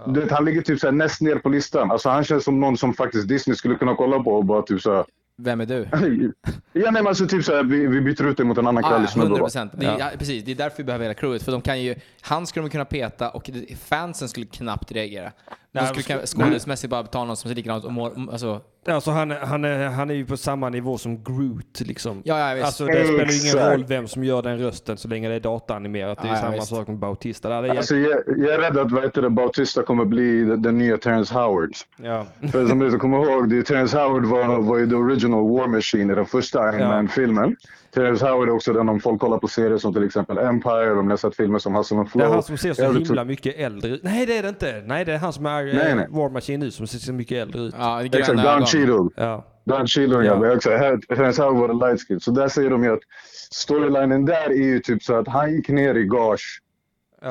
Du vet, han ligger typ såhär, näst ner på listan. Alltså han känns som någon som faktiskt Disney skulle kunna kolla på och bara typ såhär. Vem är du? ja nej men alltså typ såhär, vi, vi byter ut dig mot en annan Ah, krallig ja, snubbe. 100 va? procent. Ja. precis, det är därför vi behöver hela crewet. För de kan ju, han skulle de kunna peta och det- fansen skulle knappt reagera. De Nej, skulle de skulle- kunna, skådesmässigt bara ta någon som ser likadant och mår, alltså, Alltså han, han, är, han är ju på samma nivå som Groot liksom. Ja, ja, visst. alltså, det spelar ju ingen Exakt. roll vem som gör den rösten så länge det är dataanimerat. Det är Ja, ju ja, samma visst. sak med Bautista. Där. Det är, Alltså, jag, jag är rädd att vad heter det, Bautista kommer bli den, den nya Terrence Howard. ja. För som ni som kommer ihåg, det, är Terrence Howard var, var ju the original War Machine i den första Iron Ja. Man-filmen. Terrence Howard är också den om folk kollar på serier som till exempel Empire, om ni har sett filmer som Hustle and Det Flow. är han som ser så Jag vet himla mycket äldre ut. Nej det är det inte. Nej det är han som är Nej, nej, nej. War Machine nu som ser så mycket äldre ut. ja, gröna inte- Exakt, Don ögon. Cheadle. Ja. Don Cheadle, Ja. ja. Exakt. Här- Terrence Howard var the light skin. Så där säger de ju att storylinen där är ju typ så att han gick ner i gage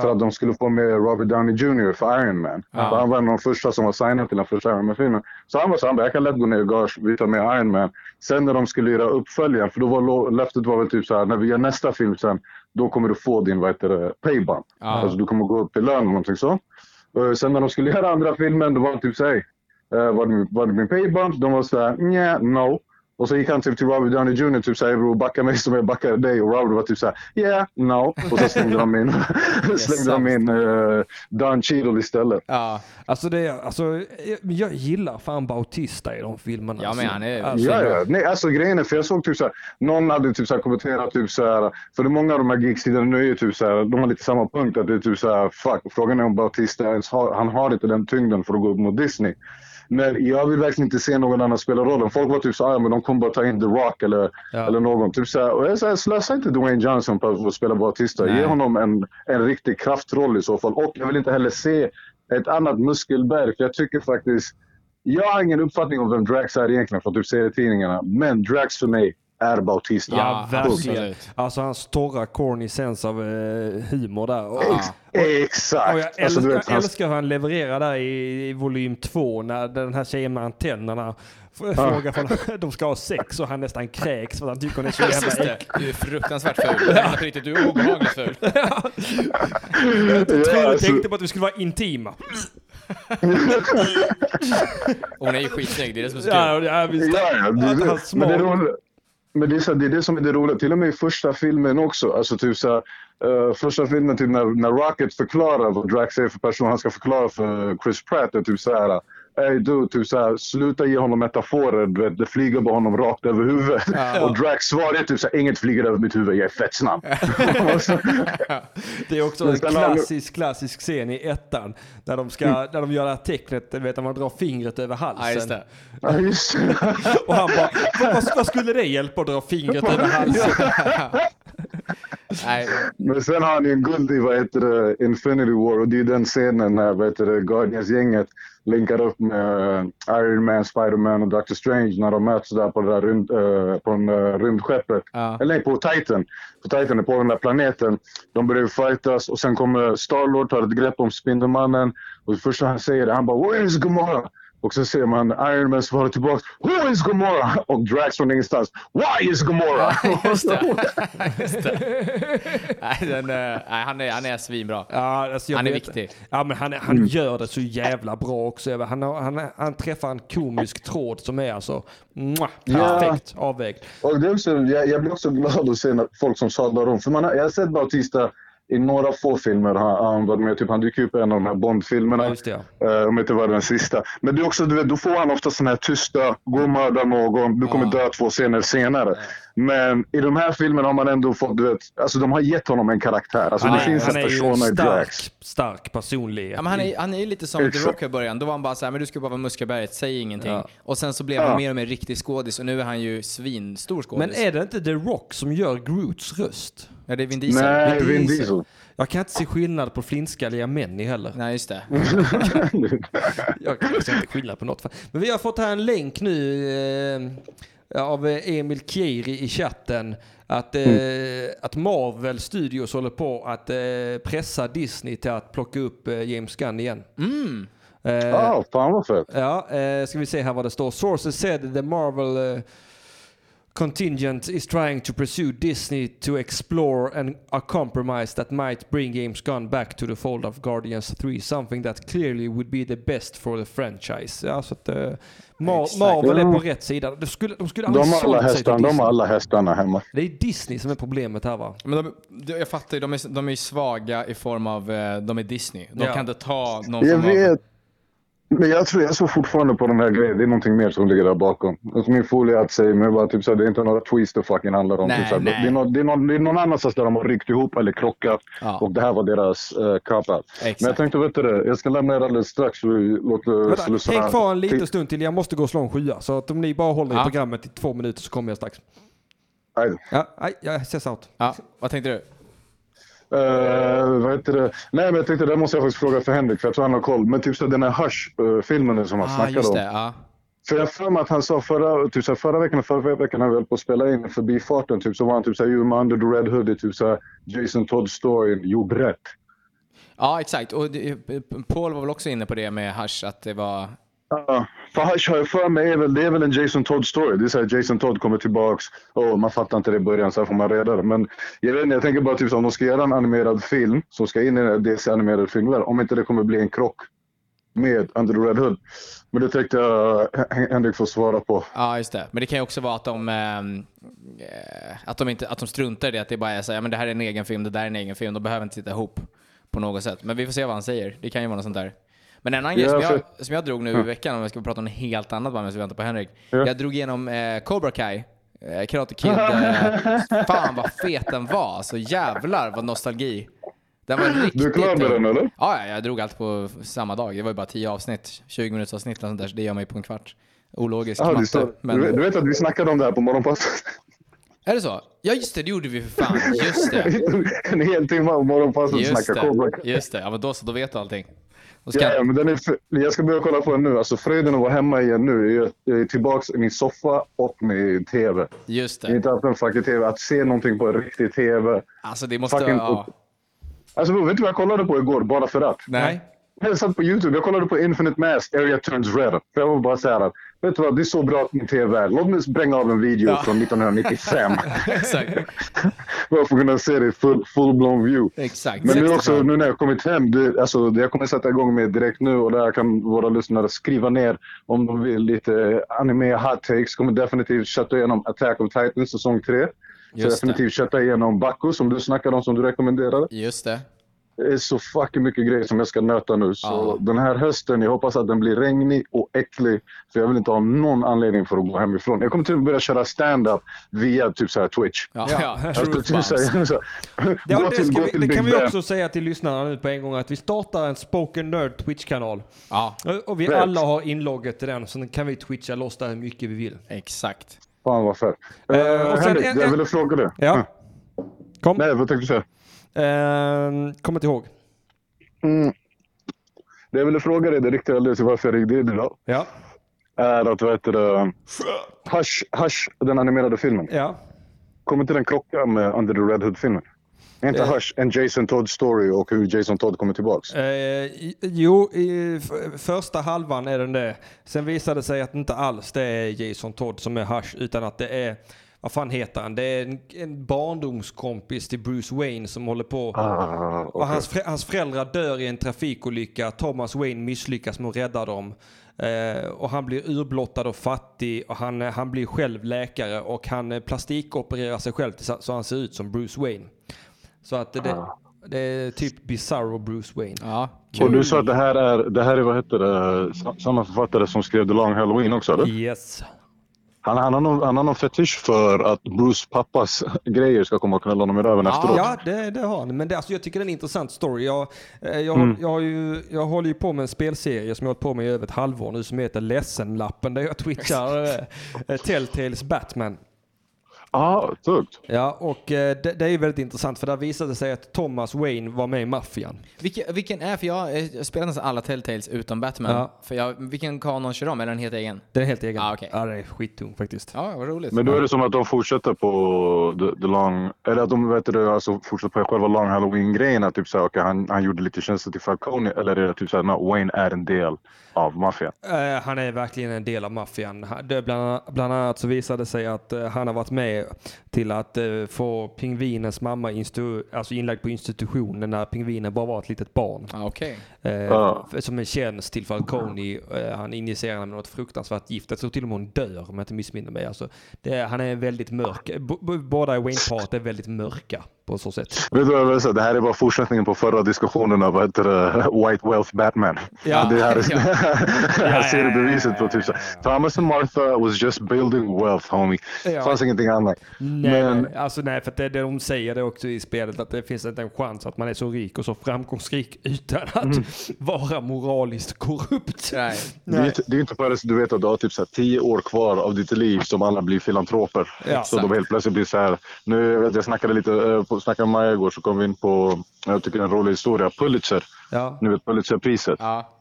för att de skulle få med Robert Downey Jr för Iron Man. För han var en av de första som var signad till den första Iron Man-filmen. Så han var så han bara, jag kan lätt gå ner i gage, vi tar med Iron Man. Sen när de skulle göra uppföljaren, för då var lo- löftet var väl typ så här, när vi gör nästa film sen, då kommer du få din vad heter det, paybump. Alltså du kommer gå upp i lön eller någonting sånt. Eh, Sen när de skulle göra andra filmen, då var det typ så här, eh, var, det, var det min paybump? De var så här, nja, no. Och så gick han typ till Robert Downey Jr. typ såhär, bror backa mig som jag backar dig. Och Robert var typ såhär, yeah, no. Och så slängde de in, slängde de in eh, Don Cheadle istället. Ja, Alltså, det, är- alltså jag- men jag gillar fan Bautista i de filmerna. Ja, alltså. men han är- Alltså, Ja, ja. Nej, alltså grejen är, för jag såg typ såhär, någon hade typ såhär kommenterat typ såhär, för det är många av de här gigstiderna nu är ju typ såhär, de har lite samma punkt att det är typ såhär, fuck, frågan är om Bautista ens har, han har inte den tyngden för att gå upp mot Disney. Men jag vill verkligen inte se någon annan spela rollen. Folk var typ såhär, ja men de kommer bara ta in The Rock eller, eller någon. Typ såhär, och jag säger, slösa inte Dwayne Johnson på att spela Bautista. Ge honom en, en riktig kraftroll i så fall. Och jag vill inte heller se ett annat muskelberg, för jag tycker faktiskt jag har ingen uppfattning om vem Drax är egentligen från typ serietidningarna, men Drax för mig är Bautista. Ja, Ja, verkligen. absolut. Alltså hans torra corny sense av eh, humor där. Och, Exakt! och jag, Alltså, älskar, du vet, jag hans- älskar hur han levererar där i, i volym två när den här tjejen med antennerna f- frågar från de ska ha sex och han nästan kräks för att han tycker hon är så just jävla det. Du är fruktansvärt ful. Nej, inte på riktigt, du är obehagligt ful. äcklig. Ja, Jag alltså, tänkte på att vi skulle vara intima. Och hon är ju skitsnygg, det är det som är så kul. Ja, ja, visst. ja, ja, det- Att han det- men det smal. är roligt. Men det är, så, här, det är det som är det roliga, till och med i första filmen också. Alltså typ så här, eh, första filmen typ när, när Rocket förklarar vad Drax är för person, han ska förklara för Chris Pratt. Och typ så här, Ey du, typ så här, sluta ge honom metaforer, du vet, det flyger bara honom rakt över huvudet. Och Drax svar är typ så här, inget flyger över mitt huvud, jag är fett snabb. Och så- Det är också Men en sen har du- klassisk, klassisk scen i ettan. När de, ska, när de gör det här tecknet, du vet när man drar fingret över halsen. Ja, just det. Ja, just det. Och han bara, "Vad- vad, vad skulle det hjälpa att dra fingret över halsen? Nej, Men sen har han ju guld i vad heter det, Infinity War och det är ju den scenen när vad heter det, Guardians-gänget linkar upp med eh, Iron Man, Spider-Man och Doctor Strange när de möts där på det där rymd, eh, på den, eh, rymdskeppet. Ja. Eller nej, på Titan. På Titan, är på den där planeten. De börjar ju fightas och sen kommer Star-Lord, tar ett grepp om Spindelmannen och det första han säger är han bara “Where is Gamora?” Och så ser man Iron Man svara tillbaka. Who is Gomorrah? Och Drax från ingenstans. Why is Gomorrah? Just det. Just det. Nej, den, eh, nej, han, är, han är svinbra. Ja, alltså jag Han är vet- viktig. Ja, men han, han gör det så jävla bra också. Jag vet- Han, har- han, han träffar en komisk tråd som är alltså mwah, Ja. perfekt avvägd. Och det är också, jag, jag blir också glad att se när folk som sadlar om. För man har, jag har sett Bautista i några få filmer har han varit med. Typ, han dyker upp i en av de här Bond-filmerna. Ja, just det, Eh, om inte var den sista. Men det är också, du vet, då får han ofta sådana här tysta, gå och mörda någon, du kommer dö två scener senare. Men i de här filmerna har man ändå fått, du vet, alltså de har gett honom en karaktär. Alltså Han det är, finns en han är ju en persona i Drax. stark, stark personlighet. Ja, men han, är, han är ju lite som The Exakt. Rock i början. Då var han bara så här, men du ska bara vara Muskaberget, säg ingenting. Och sen så blev han Ja. mer och mer riktig skådis och nu är han ju svinstor skådis. Men är det inte The Rock som gör Groots röst? ja, det är Vin Diesel. Nej, Vin Vin Diesel. Diesel. Jag kan inte se skillnad på flintskalliga män i heller. Nej, just det. Mm. Jag kan liksom inte skillnad på något. Men vi har fått här en länk nu eh, av eh, Emil Kieri i chatten. Att, eh, att Marvel Studios håller på att eh, pressa Disney till att plocka upp eh, James Gunn igen. Eh, Ja, fan vad fett. Ja, eh, ska vi se här vad det står. Sources said the Marvel eh, contingent is trying to pursue Disney to explore an, a compromise that might bring James Gunn back to the fold of Guardians 3, something that clearly would be the best for the franchise. Ja, så att, eh, Mar- Exakt. Marvel är på Mm. rätt sida. De skulle, de skulle De aldrig har alla sålt sig till hästarna, de har Disney. alla hästarna hemma. Det är Disney som är problemet här va? Men de, de- jag fattar ju, de är, de är ju svaga i form av, eh, de är Disney. De Ja. kan inte ta någon Jag form av... vet. Men jag tror jag såg fortfarande på den här grejen. Det är någonting mer som ligger där bakom. Alltså min foliehatt säger mig bara typ såhär, det är inte några tweets det fucking handlar om. Nej, typ såhär, nej. Det, är någon, det, är någon, det är någon annanstans där de har ryckt ihop eller krockat. Ja. Och det här var deras uh, cup-out. Men Exakt. jag tänkte, vet du det, jag ska lämna er alldeles strax. så Vi låter Vänta, slussarna... häng kvar en liten stund till. Jag måste gå och slå en sjua. Så att om ni bara håller i Ja. programmet i två minuter så kommer jag strax. Nej, Ja, nej, jag ses out. Ja, vad tänkte du? Eh, vad heter det? Nej, men jag tänkte, det måste jag faktiskt fråga för Henrik, för jag tror han har koll. Men typ så den här Hush-filmen som han Ah, snackade just om. det. Ja. För jag har för mig att han sa förra, typ så här, förra veckan, förra veckan när vi höll på att spela in förbifarten, typ, så var han typ såhär, Human Under the Red Hood, är typ såhär, Jason Todd storyn gjord rätt. ja, exakt. Och det, eh, Paul var väl också inne på det med hash att det var... Ja, för Hush har jag för mig, är väl, det är väl en Jason Todd story. Det är såhär, Jason Todd kommer tillbaks, och man fattar inte det i början, så här får man reda det. Men jag vet inte, jag tänker bara typ så här, om de ska göra en animerad film, som ska in i den här DC-animerade filmen, om inte det kommer bli en krock med Under the Red Hood. Men det tänkte jag Hen- Henrik får svara på. Ja, just det. Men det kan ju också vara att de, ehm, eh, att de, inte, att de struntar i det. Att det bara är så här, ja, men det här är en egen film, det där är en egen film. De behöver inte sitta ihop på något sätt. Men vi får se vad han säger. Det kan ju vara något sånt där. Men en annan grej Ja, som jag, för- som jag drog nu i veckan, om jag ska prata om något helt annat bara medan vi väntar på Henrik. Ja. Jag drog igenom eh, Cobra Kai. Eh, Karate Kid. Eh, fan vad fet den var. Så jävlar vad nostalgi. Den var riktigt... Du är klar med den eller? Ja, ja, jag drog allt på samma dag. Det var ju bara 10 avsnitt, 20 minuters avsnitt och sånt där, så det gör man ju på en kvart. Ologisk Ja, du, matte. står- du, vet- du vet att vi snackade om det här på morgonpasset? Är det så? Ja just det, det gjorde vi för fan. Just det. en hel timme av morgonpasset och Just snacka Cobra det. Kai. Just det. Ja men då så, då vet du allting. Då ska... Ja, ja, men den är, för- jag ska börja kolla på den nu. Alltså fröjden att vara hemma igen nu. Jag- Jag är tillbaka i min soffa och min TV. Just Jag har det. inte haft en fucking TV. Att se någonting på en riktig TV. Alltså det måste... Fucking- Ja. Alltså vet du vad jag kollade på igår bara för att? Nej. Jag satt på YouTube. Jag kollade på Infinite Mask, Area Turns Red. För jag var bara så här att, vet du vad, det är så bra att min TV är. Låt mig spränga av en video Ja. från 1995. Exakt. bara för att kunna se det i full, full blown view. Exakt. Men nu 60 också, fram. nu när jag kommit hem, det, alltså, det jag kommer sätta igång med direkt nu och där kan våra lyssnare skriva ner om de vill lite anime hot takes. Kommer definitivt kötta igenom Attack of Titans säsong 3. Så Just det. definitivt kötta igenom Baku som du snackade om, som du rekommenderade. Just det. Det är så fucking mycket grejer som jag ska nöta nu. Så Ja. den här hösten, jag hoppas att den blir regnig och äcklig. För jag vill inte ha någon anledning för att gå hemifrån. Jag kommer till och med börja köra stand-up via typ så här Twitch. Ja, Ja. ja. Jag Truth skulle bombs. säga så. Ja, Gå det, till- ska gå vi, till det Big kan vi Ben. också säga till lyssnarna nu på en gång att vi startar en Spoken Nerd Twitch-kanal. Ja, Och vi Rätt. alla har inlogget till den, så den kan vi twitcha loss där hur mycket vi vill. exakt. Fan vad fett. Eh, och sen- Henrik, eh, eh, jag ville fråga dig. Ja. Kom. Nej, vad tänkte du säga? Ehm, kom inte ihåg. Det jag ville fråga dig, det riktiga anledningen till varför jag ringde in idag, Ja. är att vad heter det? Hush, Hush, den animerade filmen. Ja. Kommer inte den krocka med Under the Red Hood-filmen? Inte Hush, en Jason Todd-story och hur Jason Todd kommer tillbaks. Eh, jo, i f- första halvan är den det. Sen visade det sig att inte alls det är Jason Todd som är Hush, utan att det är, vad fan heter han? Det är en, en barndomskompis till Bruce Wayne som håller på. Ah, Och okej. hans, frä- hans föräldrar dör i en trafikolycka. Thomas Wayne misslyckas med att rädda dem. Eh, och han blir urblottad och fattig och han, eh, han blir själv läkare och han eh, plastikopererar sig själv tillsa- så han ser ut som Bruce Wayne. Så att eh, det, det är typ Bizarro Bruce Wayne. Ja, Och du sa att det här är, det här är vad heter det, sa- samma författare som skrev The Long Halloween också Mm. eller? Yes. Han, han, har någon, han har någon fetisch för att Bruce pappas grejer ska komma och knulla honom i röven efteråt. Ja, det, det har han. Men det, alltså, jag tycker det är en intressant story. Jag, eh, jag, jag, har ju, jag håller ju på med en spelserie som jag har hållit på med i över ett halvår nu som heter Ledsenlappen där jag twitchar eh, eh, Telltales Batman. ah, tungt. Ja, och eh, det, det är ju väldigt intressant för där visade det sig att Thomas Wayne var med i maffian. Vilken, vilken är, för jag, eh, jag spelar nästan alla Telltales utom Batman. Ja. För jag, vilken kanon kör de? Eller den helt egen? Den är helt egen. Ah, okej. Ja, det är skittung faktiskt. Ja, vad roligt. Men då är det som att de fortsätter på the, the long... Eller att de vet du, alltså, fortsätter på själva long halloween-grejen. Att typ såhär, okej han, han gjorde lite tjänster till Falcone. Eller är det typ såhär, no, Wayne är en del av maffian. Eh, han är verkligen en del av maffian. Han- det- Bland, bland annat så visade det sig att eh, han har varit med till att eh, få pingvinens mamma instu, alltså inlagd på institutionen när pingvinen bara var ett litet barn. Ah, Okej. Eh, Ja. f- Som en tjänst till Falcone. Eh, han injicerar henne med något fruktansvärt gift. Jag tror till och med hon dör om jag inte missminner mig. Alltså, det, är- han är väldigt mörk. B- b- båda i Wayne-paret är väldigt mörka på så sätt. Vet du vad jag vill säga? Det här är bara fortsättningen på förra diskussionen av vad heter det, White Wealth Batman. Ja. det här, är, här ser du beviset på typ så. här, Thomas and Martha was just building wealth homie. Ja. Fanns ingenting annat. Nej, Men, nej. alltså nej, för att det, det de säger det också i spelet att det finns inte en chans att man är så rik och så framgångsrik utan att Mm. vara moraliskt korrupt. Nej. det är ju inte- det är ju inte förrän du vet att du har typ så här, tio år kvar av ditt liv som alla blir filantroper. Ja, så de helt plötsligt blir så här. Nu, jag, vet, jag snackade lite, eh, på- snackade med Maja igår så kom vi in på, jag tycker en rolig historia, Pulitzer. Ja. Nu vet Pulitzerpriset. Ja.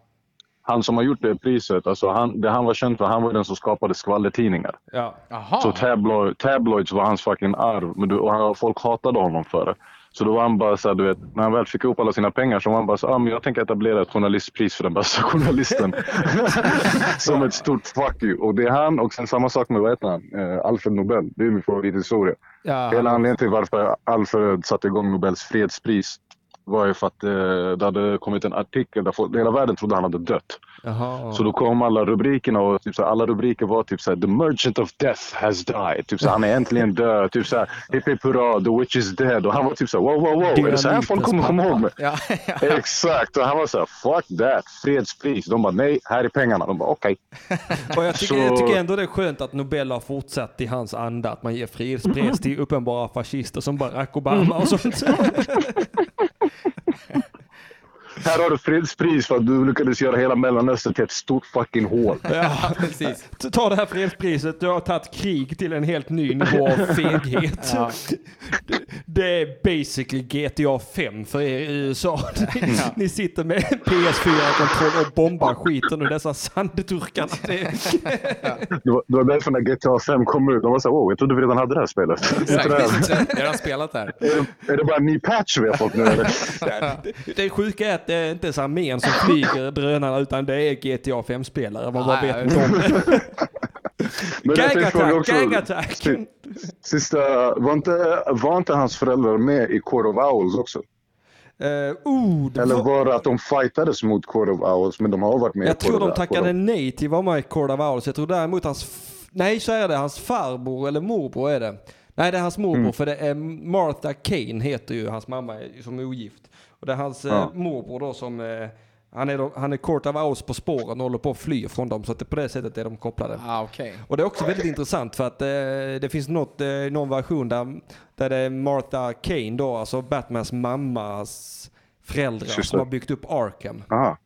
Han som har gjort det priset, alltså han, det han var känd för, han var den som skapade skvallertidningar. Ja. Jaha. Så tabloid, tabloids var hans fucking arv. Men du, och han, folk hatade honom för det. Så då var han bara så här, du vet, när han väl fick ihop alla sina pengar så var han bara så här, ah, men jag tänker etablera ett journalistpris för den bästa journalisten. Som ett stort fuck you. Och det är han och sen samma sak med, vad heter han, eh, Alfred Nobel. Det är min favorithistoria. Ja, Hela anledningen till varför Alfred satte igång Nobels fredspris var ju för att eh, det hade kommit en artikel där folk, hela världen trodde han hade dött. Jaha. Så då kom alla rubrikerna och typ så här, alla rubriker var typ så här, The Merchant of Death has died. Typ så här, han är äntligen död. Typ så här, hipp hipp hurra, The Witch is dead. Och han var typ så här, wow, wow, wow. Är det så här folk kommer komma ihåg mig? Ja. Exakt. Och han var så här, fuck that. Fredspris. De bara, nej, här är pengarna. De bara, okej. Och jag, tycker, så- jag tycker ändå det är skönt att Nobel har fortsatt i hans anda att man ger fredspris Mm. till uppenbara fascister som Barack Obama och sånt. Här har du fredspris för att du lyckades göra hela Mellanöstern till ett stort fucking hål. ja, precis. Ta det här fredspriset, du har tagit krig till en helt ny nivå av feghet. Det, det är basically GTA 5 för er i USA. Ni, ni sitter med PS4-kontroll och bombar skiten ur dessa sandturkarna. Det, Det var, det var därför när GTA 5 kom ut, de var så här, wow, jag trodde vi redan hade det här spelet. Exakt. Är det- Jag har redan spelat där. Är det, är det bara en ny patch vi har fått nu eller? det, det sjuka är att det är inte ens armén som flyger drönarna utan det är GTA 5-spelare. Man bara Nej, vet jag inte om det. Men jag tänkte fråga Gagattack, också- gagattack! Sista, var inte, var inte hans föräldrar med i Court of Owls också? Uh, oh, det Eller var- var det att de fightades mot Court of Owls, men de har varit med Jag i Court tror de of- tackade Court nej till vad med Court of Owls. Jag tror däremot hans... f- Nej, så är det. Hans farbror eller morbror är det. Nej, det är hans morbror. För det är Martha Kane heter ju hans mamma eh, som är ogift. Och det är hans eh, morbror då som... Eh, han är, då- han är Court of Owls på spåren och håller på att fly från dem. Så att det, på det sättet är de kopplade. Ah, Okej. Och det är också väldigt intressant för att eh, det finns något, eh, någon version där, där det är Martha Kane då, alltså Batmans mammas föräldrar Syster. som har byggt upp Arkham. of- Aha.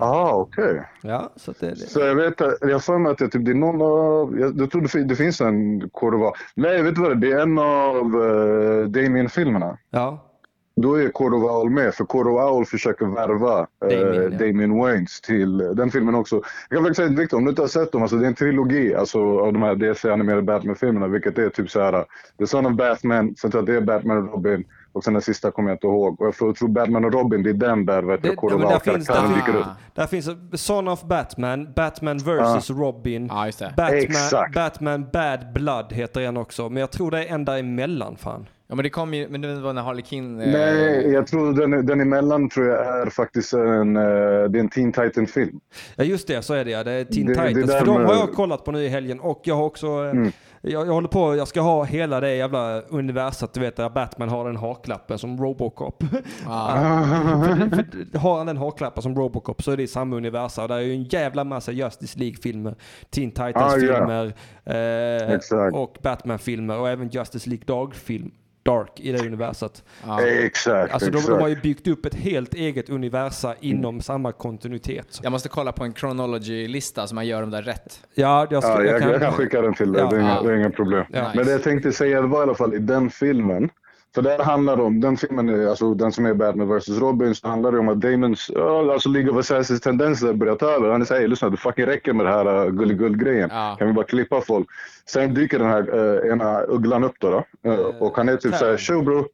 Ah, okej. Ja, så att Mm. det, Så jag vet, jag har för mig att det, typ, det är någon av, jag, jag tror det, fin- det finns en Court of Owls. Nej, vet du vad det är? Det är en av eh, Damien-filmerna. ja. Då är Cordova Owl med, för Cordova Owl försöker värva Damien, ja. eh, Damien Wayans till eh, den filmen också. Jag kan faktiskt säga till Victor, om du inte har sett dem, alltså, det är en trilogi alltså, av de här DC-animerade Batman-filmerna, vilket är typ så här, The Son of Batman, sen tror jag att det är Batman och Robin, och sen den sista kommer jag inte ihåg. Och jag tror- tror Batman och Robin, det är den där vet Det- du, ja, Cordova men där finns- Ah. där Owl-karaktären finns- dyker upp. Där finns Son of Batman, Batman vs Robin, Ja, just det. Batman, Exakt. Batman Bad Blood heter en också. Men jag tror det är en däremellan fan. Ja, men det kom ju, men det var när Harlequin... eh, Nej, jag tror den, den emellan tror jag är faktiskt en, eh, det är en Teen Titan-film. Ja just det, så är det ja. Det är Teen Det- det Titans. där Mm. för de har med- jag kollat på nu i helgen och jag har också... eh, Jag, jag håller på, jag ska ha hela det jävla universat, du vet där Batman har den haklappen som Robocop. för, för, har han den haklappen som Robocop så är det i samma universum. Och där är ju en jävla massa Justice League-filmer, Teen Titans-filmer Ah, Exakt. eh, och Batman-filmer och även Justice League Dark-film. Dark i det universet. Ah. Exakt, Alltså de, exakt. Mm. de har ju byggt upp ett helt eget universa inom samma kontinuitet. Jag måste kolla på en chronology-lista så man gör dem där rätt. Ja, jag, ska, Ja, jag, jag, jag kan skicka den till dig. Ja. det, är inga, Ja. det är inga problem. Ja. Men det jag tänkte säga var i alla fall i den filmen. För där handlar det om, den filmen, är- alltså den som är Batman vs. Robin, så handlar det om att Damons, ja, alltså League of Assassins tendenser börjar ta över. Han säger hey, lyssna, det fucking räcker med det här uh, gulligull-grejen. Ja. Kan vi bara klippa folk? Sen dyker den här eh, ena ugglan upp då. då Eh, och han är typ såhär, tjo bro.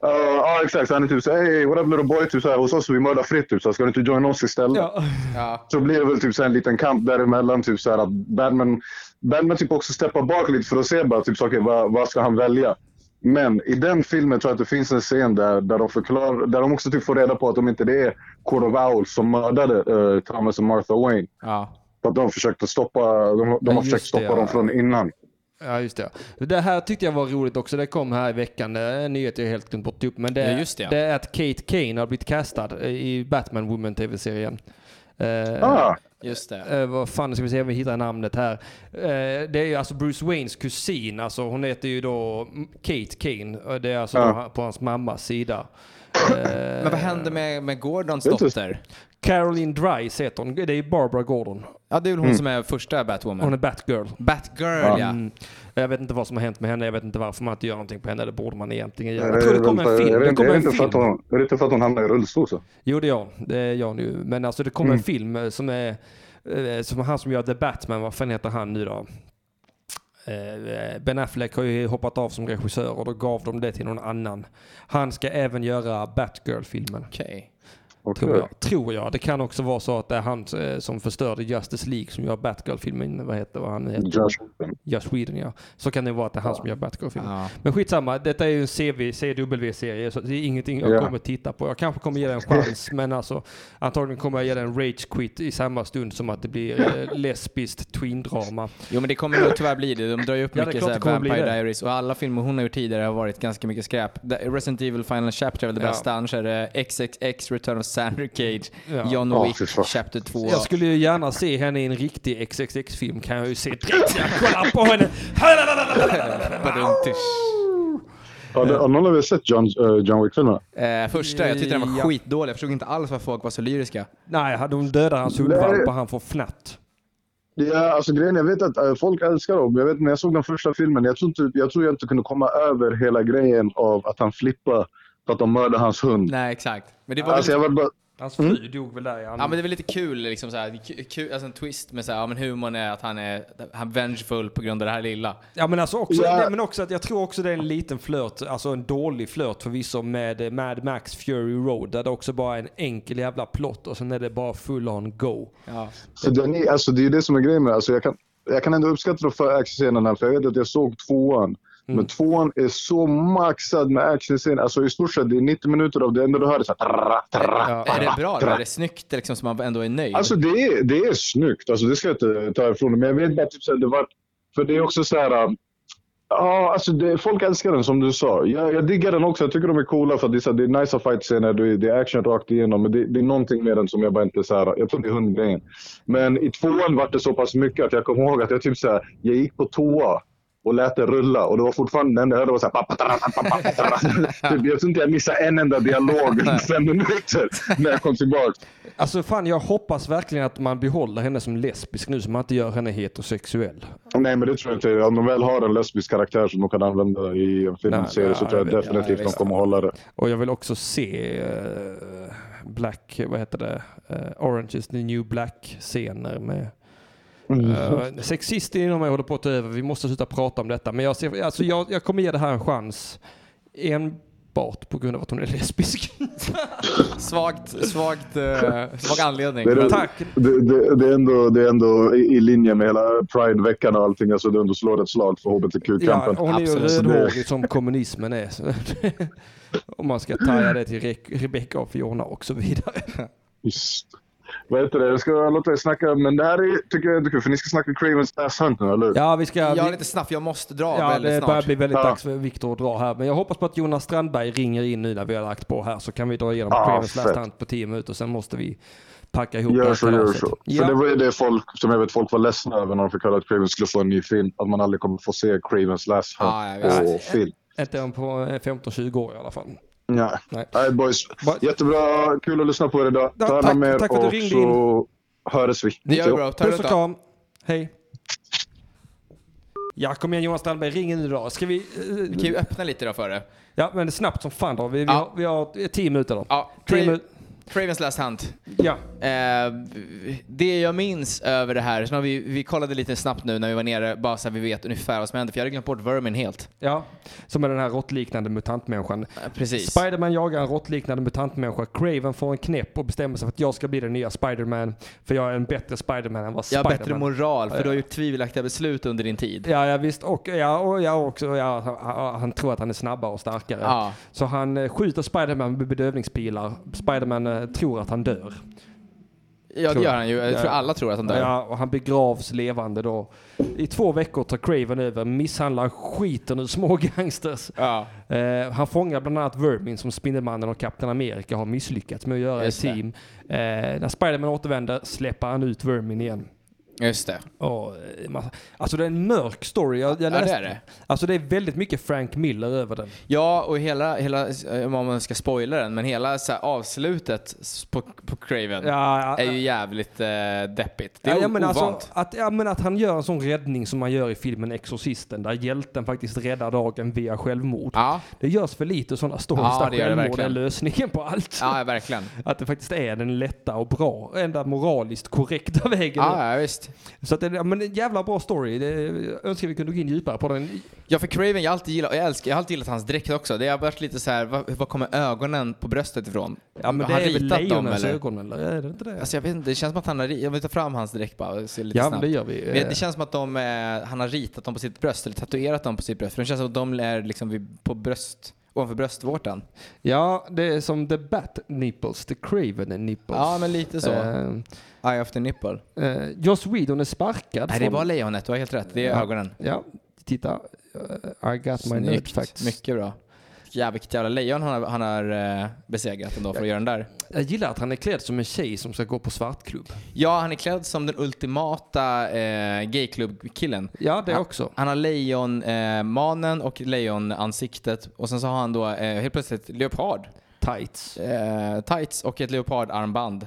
Ja, ja, exakt. Så Han är typ såhär, hey, what up little boy? Typ såhär, hos oss vi mördar fritt. Typ, så här, ska du inte joina oss istället? Ja. Ja. så blir det väl typ så här en liten kamp däremellan. Typ så här att Batman, Batman typ också steppar bak lite för att se bara, typ, så, okej, vad, vad ska han välja. Men i den filmen tror jag att det finns en scen där, där, de, förklarar, där de också typ får reda på att de inte det är Court of Owls som mördade eh, Thomas och Martha Wayne. Ja. För att de försökte stoppa, de, de har just försökt stoppa det, ja. dem från innan. ja, just det. Det här tyckte jag var roligt också. Det kom här i veckan. Det är en nyhet jag helt glömt bort upp. Men det, Ja, just det. är att Kate Kane har blivit castad eh, i Batman Woman TV-serien. Eh, Ah, Just det. eh, vad fan ska vi se om vi hittar namnet här. Eh, det är ju alltså Bruce Waynes kusin. Alltså hon heter ju då Kate Kane. Och Det är alltså Ja. då han- på hans mammas sida. Eh, Men vad hände med, med Gordons Vet du- dotter? Caroline Dries heter hon. Det är ju Barbara Gordon. Ja, det är väl hon som är första Batwoman. Hon är Batgirl. Batgirl, ja. Mm. Jag vet inte vad som har hänt med henne. Jag vet inte varför man inte gör någonting på henne. Det borde man egentligen göra. Jag tror det kommer en film. Är det, Det inte- kommer är, det en inte för att film. hon, är det inte för att hon hamnar i rullstol? Så? Jo, det gör hon. Det gör hon ju. Men alltså det kommer Mm. en film eh, som är eh, som han som gör The Batman. Vad fan heter han nu då? Eh, Ben Affleck har ju hoppat av som regissör och då gav de det till någon annan. Han ska även göra Batgirl-filmen. Okej. Tror jag. tror jag. Det kan också vara så att det är han eh, som förstörde Justice League som gör Batgirl-filmen. Vad heter vad han nu heter? Josh. Joss Sweden ja. Så kan det vara att det är han som gör Batgirl-filmen. Ja. Men skitsamma, detta är ju en CV, CW-serie så det är ingenting jag Ja. kommer titta på. Jag kanske kommer ge den en chans men alltså antagligen kommer jag ge den en rage quit i samma stund som att det blir eh, lesbiskt tween-drama. Jo, men det kommer nog tyvärr bli det. De drar ju upp Ja, det är mycket klart så här det kommer bli Vampire det. Diaries och alla filmer hon har gjort tidigare har varit ganska mycket skräp. The- Resident Evil Final Chapter är väl det Ja. bästa, annars är det XXX Return of Sandra Cage, Ja. John Ja, Wick, fy fan. Chapter 2. Jag skulle ju gärna se henne i en riktig XXX-film kan jag ju se direkt. Jag kollar på henne. Har, du- har någon av er sett John, eh, John Wick-filmerna? Eh, första, jag tyckte den var Ja. skitdålig. Jag förstod inte alls varför folk var så lyriska. Nej, de dödar hans hundvalp och han får fnatt. Ja, alltså grejen jag vet att eh, folk älskar dem. Jag vet när jag såg den första filmen, jag tror, typ, jag, tror jag inte kunde komma över hela grejen av att han flippar för att de mördar hans hund. Nej, exakt. Men det var Alltså väl, jag var bara, Hans fru dog väl där i andra- ja, men det var lite kul, liksom så här, ku- kul, alltså en twist med så här, ja, men humorn är att han är han är vengeful på grund av det här lilla. Ja men alltså också, Ja. nej, men också att jag tror också det är en liten flört, alltså en dålig flört förvisso med eh, Mad Max Fury Road där det också bara är en enkel jävla plott och sen är det bara full on go. Ja. för den är, alltså, det är ju det som är grejen med alltså, jag kan, jag kan ändå uppskatta de för actionscenerna, för jag vet att jag såg tvåan. Mm. Men tvåan är så maxad med actionscener. Alltså i stort sett, det är 90 minuter av det enda du hör är så här, tarra, tarra, Är det bra då? Är det snyggt liksom, så man ändå är nöjd? Alltså det är, det är snyggt, alltså, det ska jag inte ta ifrån dig. Men jag vet bara typ såhär, det var... För det är också så här. um, Ja, alltså det, folk älskar den som du sa. Jag, jag diggar den också. Jag tycker de är coola för att det är, så här, det är nice fight-scener, det är- det är action rakt igenom. Men det, det är någonting med den som jag bara inte så här. Jag tror det är hundgrejen. Men i tvåan var det så pass mycket att jag kommer ihåg att jag typ så här, jag gick på toa och lät det rulla. Och det var fortfarande den där, det var så här... papatara, papatara. Typ, Jag tror inte jag missade en enda dialog fem minuter när jag kom tillbaka. Alltså fan, jag hoppas verkligen att man behåller henne som lesbisk nu så man inte gör henne heterosexuell. Nej, men det tror jag inte. Om de väl har en lesbisk karaktär som de kan använda i en Nej, filmserie så ja, tror jag jag vet. definitivt de kommer hålla det. Och jag vill också se eh, Black, vad heter det, Eh, Orange is the new black scener med Uh, sexist inom mig håller på att ta över. Vi måste sluta prata om detta. Men jag, ser, alltså jag, jag kommer ge det här en chans. Enbart på grund av att hon är lesbisk. Svagt, svagt, eh, svag anledning. Det är, Tack. Det, det, det, är ändå, det är ändå i i linje med hela Pride-veckan och allting. Alltså, det ändå slår ett slag för Ja, hbtq-kampen. hon är ju Absolut. rödhårig som kommunismen är. Så det- Om man ska taja det till Re- Rebecca och Fiona och så vidare. Just. Vad heter det? Jag ska låta er snacka, men det här är, tycker jag är kul, för ni ska snacka Cravens Ass Hunter, eller hur? Ja, vi ska... Jag vi- är lite snabb, jag måste dra Ja, väldigt det snart. börjar bli väldigt Ja. dags för Viktor att dra här. Men jag hoppas på att Jonas Strandberg ringer in nu när vi har lagt på här så kan vi dra igenom Ja, Cravens Last fett. Hunt på 10 minuter. Sen måste vi packa ihop det Gör här så, gör kalaset. så. Ja. För det var ju det folk, som jag vet folk var ledsna över när de fick höra att Craven skulle få en ny film. Att man aldrig kommer få se Cravens Last Hunt Ja, jag vet. på film. Inte än på eh, 15-20 år i alla fall. Nej. Nej. Nej, boys. Ba- Jättebra. Kul att lyssna på er idag. Ja, Ta hand om tack- er tack för att du och ringde så hörs vi. Det gör vi bra, ta det Puss och lugnt då. kram. Hej. Ja, kom igen Jonas Strandberg, ring nu då. Ska vi... eh, Vi kan ju öppna lite då för det. Ja, men snabbt som fan då. Vi, vi, Ja. har, vi har 10 minuter då. Ja, Tio Cra- minuter. Cravens Last Hunt. Ja. Eh, det jag minns över det här, så har vi, vi kollade lite snabbt nu när vi var nere, bara så att vi vet ungefär vad som hände, för jag hade glömt bort Vermin helt. ja. Som är den här råttliknande mutantmänniskan. Eh, Precis. Spiderman jagar en råttliknande mutantmänniska. Craven får en knäpp och bestämmer sig för att jag ska bli den nya Spiderman. För jag är en bättre Spiderman än vad jag har Spiderman bättre moral, för du har gjort tvivelaktiga beslut under din tid. Ja, ja visst. Och, ja, och jag också. Ja, han, han tror att han är snabbare och starkare. Ja. Så han eh, skjuter Spiderman med bedövningspilar. Spiderman eh, tror att han dör. Ja, det Tror- gör han ju. Jag Ja. tror alla tror att han dör. Ja, och han begravs levande då. I två veckor tar Craven över, misshandlar skiten ur små gangsters. Ja. Eh, han fångar bland annat Vermin som Spindelmannen och Kapten Amerika har misslyckats med att göra i Just det. team. Eh, när Spiderman återvänder släpper han ut Vermin igen. Just det. Och, eh, massa- alltså det är en mörk story. Jag, jag Ja, det läste- är det. Alltså det är väldigt mycket Frank Miller över den. Ja, och hela, hela eh, om man ska spoila den, men hela så här, avslutet s- på, på Craven Ja, är ju jävligt eh, deppigt. Det Ja, är jag menar ovant. alltså, att, ja, men att han gör en sån räddning som man gör i filmen Exorcisten, där hjälten faktiskt räddar dagen via självmord. Ja. Det görs för lite sådana stories Ja, där det gör det självmord är verkligen. lösningen på allt. ja, verkligen. Att det faktiskt är den lätta och bra, enda moraliskt korrekta vägen. Ja, ja, visst. Så att det, ja, men en jävla bra story. Det, jag önskar vi kunde gå in djupare på den. Ja, för Craven, jag har alltid gillat, jag älskar, jag har alltid gillat hans dräkt också. Det har varit lite så här, var, var kommer ögonen på bröstet ifrån? Ja, men det har är väl ritat dem lejonens eller? ögon eller? Är det inte det? Alltså jag vet inte, det känns som att han har ri- jag vill ta fram hans dräkt bara och se lite ja, men snabbt. det gör vi. Men det känns som att de, eh, han har ritat dem på sitt bröst, eller tatuerat dem på sitt bröst. För det känns som att de är liksom vid, på bröst, ovanför bröstvårtan. Ja, det är som The Bat Nipples, The Craven Nipples. Ja, men lite så. Eh, Eye of the nipple. eh, Joss Whedon är sparkad. Nej, det från- var lejonet. Du har helt rätt. Det är Ja. ögonen. Ja, titta. Eh, I got my nerd Snyggt. facts. Mycket bra. Jävlar, vilket jävla lejon han har, han har eh, besegrat ändå för att göra den där. Jag gillar att han är klädd som en tjej som ska gå på svartklubb. Ja, han är klädd som den ultimata eh, gayklubb-killen. Ja, det Ja. också. Han har lejonmanen och lejonansiktet och sen så har han då eh, helt plötsligt leopard Tights. eh, tights och ett leopardarmband.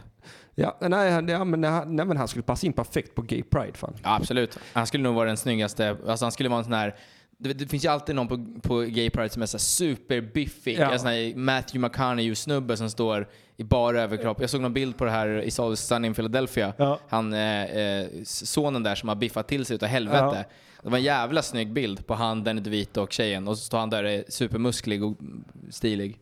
Ja, nej, han, ja, men, han, nej, men han skulle passa in perfekt på Gay Pride fan. Ja, absolut. Han skulle nog vara den snyggaste. Alltså han skulle vara en sån här... Det, det finns ju alltid någon på, på Gay Pride som är så här superbiffig. Ja. En sån här Matthew McConaughey-snubbe som står i bara överkropp. Jag såg någon bild på det här i Sol- Sunny in Philadelphia. Ja. Han, eh, eh, sonen där som har biffat till sig utav helvete. Det var en jävla snygg bild på han, den vita och tjejen. Och så står han där och är supermusklig och stilig.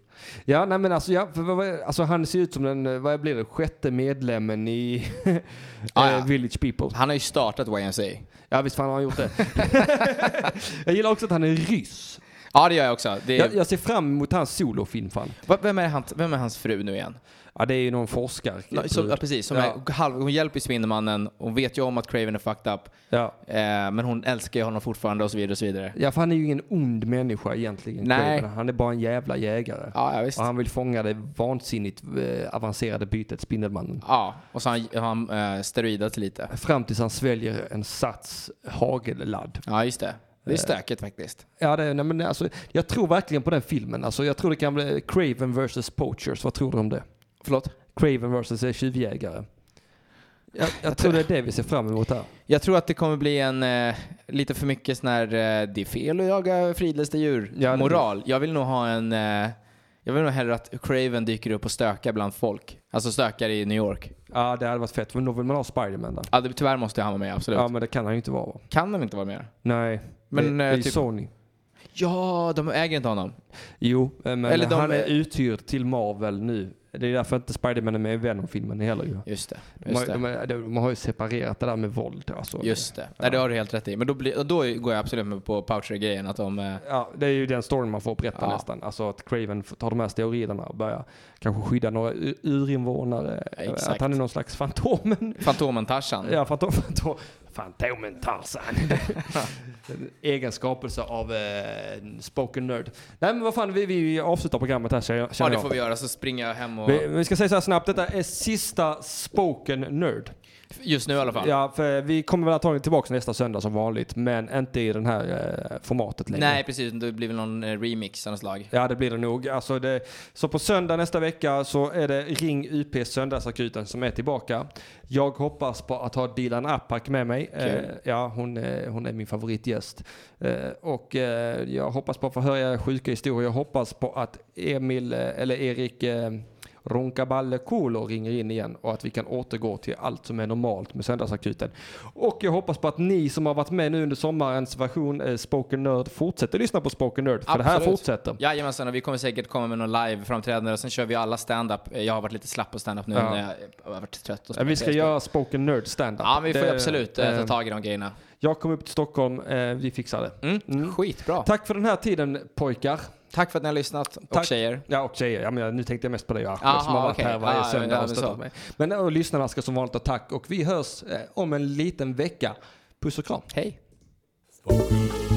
Ja, nej men alltså, ja, för, vad- vad- alltså han ser ut som den, eh, vad blir det, sjätte medlemmen i Ah, eh, ja. Village People. Han har ju startat YMCA. Ja visst fan har han gjort det. jag gillar också att han är ryss. Ja, det gör jag också. Det är, Jag, jag ser fram emot hans solofilm fan. Va- Vem, är han, vem är hans fru nu igen? Ja det är ju någon forskare. Ja, Som, ja, precis. Som Ja. är halv, hon hjälper ju Spindelmannen. Hon vet ju om att Craven är fucked up. Ja. Eh, men hon älskar ju honom fortfarande och så vidare. Och så vidare. ja, för han är ju ingen ond människa egentligen. Nej. Craven. Han är bara en jävla jägare. Ja, ja visst. Och han vill fånga det vansinnigt eh, avancerade bytet Spindelmannen. Ja, och så har han, har han eh, steroidat lite. Fram tills han sväljer en sats hagelladd. Ja, just det. Eh. Det är stökigt faktiskt. Ja, det, nej, men alltså, jag tror verkligen på den filmen. Alltså, jag tror det kan bli Craven vs. Poachers. Vad tror du om det? Förlåt? Craven vs. tjuvjägare. Jag, jag tror det är det vi ser fram emot här. Jag tror att det kommer bli en eh, lite för mycket sån här eh, det är fel att jaga fridlysta djur Ja, det- moral. Jag vill nog ha en eh, jag vill nog hellre att Craven dyker upp och stökar bland folk. Alltså stökar i New York. Ja, det hade varit fett. Men då vill man ha Spiderman där. Ja, det, tyvärr måste han vara med, absolut. Ja, men det kan han ju inte vara. va? Kan de inte vara med? Nej, Men, det, det är eh, ju typ- Sony. Ja, de äger inte honom. Jo, eh, men Eller de- han är uthyrd till Marvel nu. Det är därför inte Spiderman är med i Venom-filmen heller ju. Just det. De, har- Just det. de, har- de har ju separerat det där med våld. Alltså. Just det. Nej, det har du helt rätt i. Men då, blir, då går jag absolut med på Poucher-grejen. Att de... eh, Ja, det är ju den storyn man får berätta Ja. nästan. Alltså att Craven tar de här steroiderna och börjar kanske skydda några u- urinvånare. Ja, exakt. Mm. Att han är någon slags Fantomen. Fantomen-Tarzan. Ja, fantom, fantom, fantomen Tarzan. En Egen skapelse av eh, en spoken nerd. Nej men vad fan, vi, vi avslutar programmet här känner jag. Ja, det får vi göra. Så springer jag hem och... Vi, vi ska säga så här snabbt, detta är sista spoken nerd. Just nu i alla fall. Ja, för vi kommer väl antagligen tillbaka nästa söndag som vanligt, men inte i det här eh, formatet längre. Nej, precis. Det blir väl någon eh, remix av något slag. Ja, det blir det nog. Alltså det, så på söndag nästa vecka så är det Ring UP Söndagsakuten som är tillbaka. Jag hoppas på att ha Dilan Apak med mig. Eh, ja, hon, är- hon är min favoritgäst. Eh, och eh, jag hoppas på att få höra sjuka historier. Jag hoppas på att Emil, eh, eller Erik eh, Ronkaballe Kolo ringer in igen och att vi kan återgå till allt som är normalt med Söndagsakuten. Och jag hoppas på att ni som har varit med nu under sommarens version eh, Spoken Nerd fortsätter lyssna på Spoken Nerd. För det här Absolut. fortsätter. Jajamensan, och vi kommer säkert komma med någon live-framträdande och sen kör vi alla stand-up. Eh, Jag har varit lite slapp på stand-up nu Ja. när jag- jag har varit trött. Och Ja, vi ska småtrött. göra spoken nerd stand-up. Ja, men vi får Det- absolut eh, ta eh, tag i de grejerna. Jag kommer upp till Stockholm, eh, vi fixar det. Mm. Skitbra. Tack för den här tiden pojkar. Tack för att ni har lyssnat, och Tack. tjejer. Ja, och tjejer. Ja, men jag- nu tänkte jag mest på dig och Ahmed Aha, som har varit okej. här varje Ja, söndag ja, och men stöttat så. mig. Men eh, och lyssnarna ska som vanligt ha tack och vi hörs eh, om en liten vecka. Puss och kram. Hej. Spoken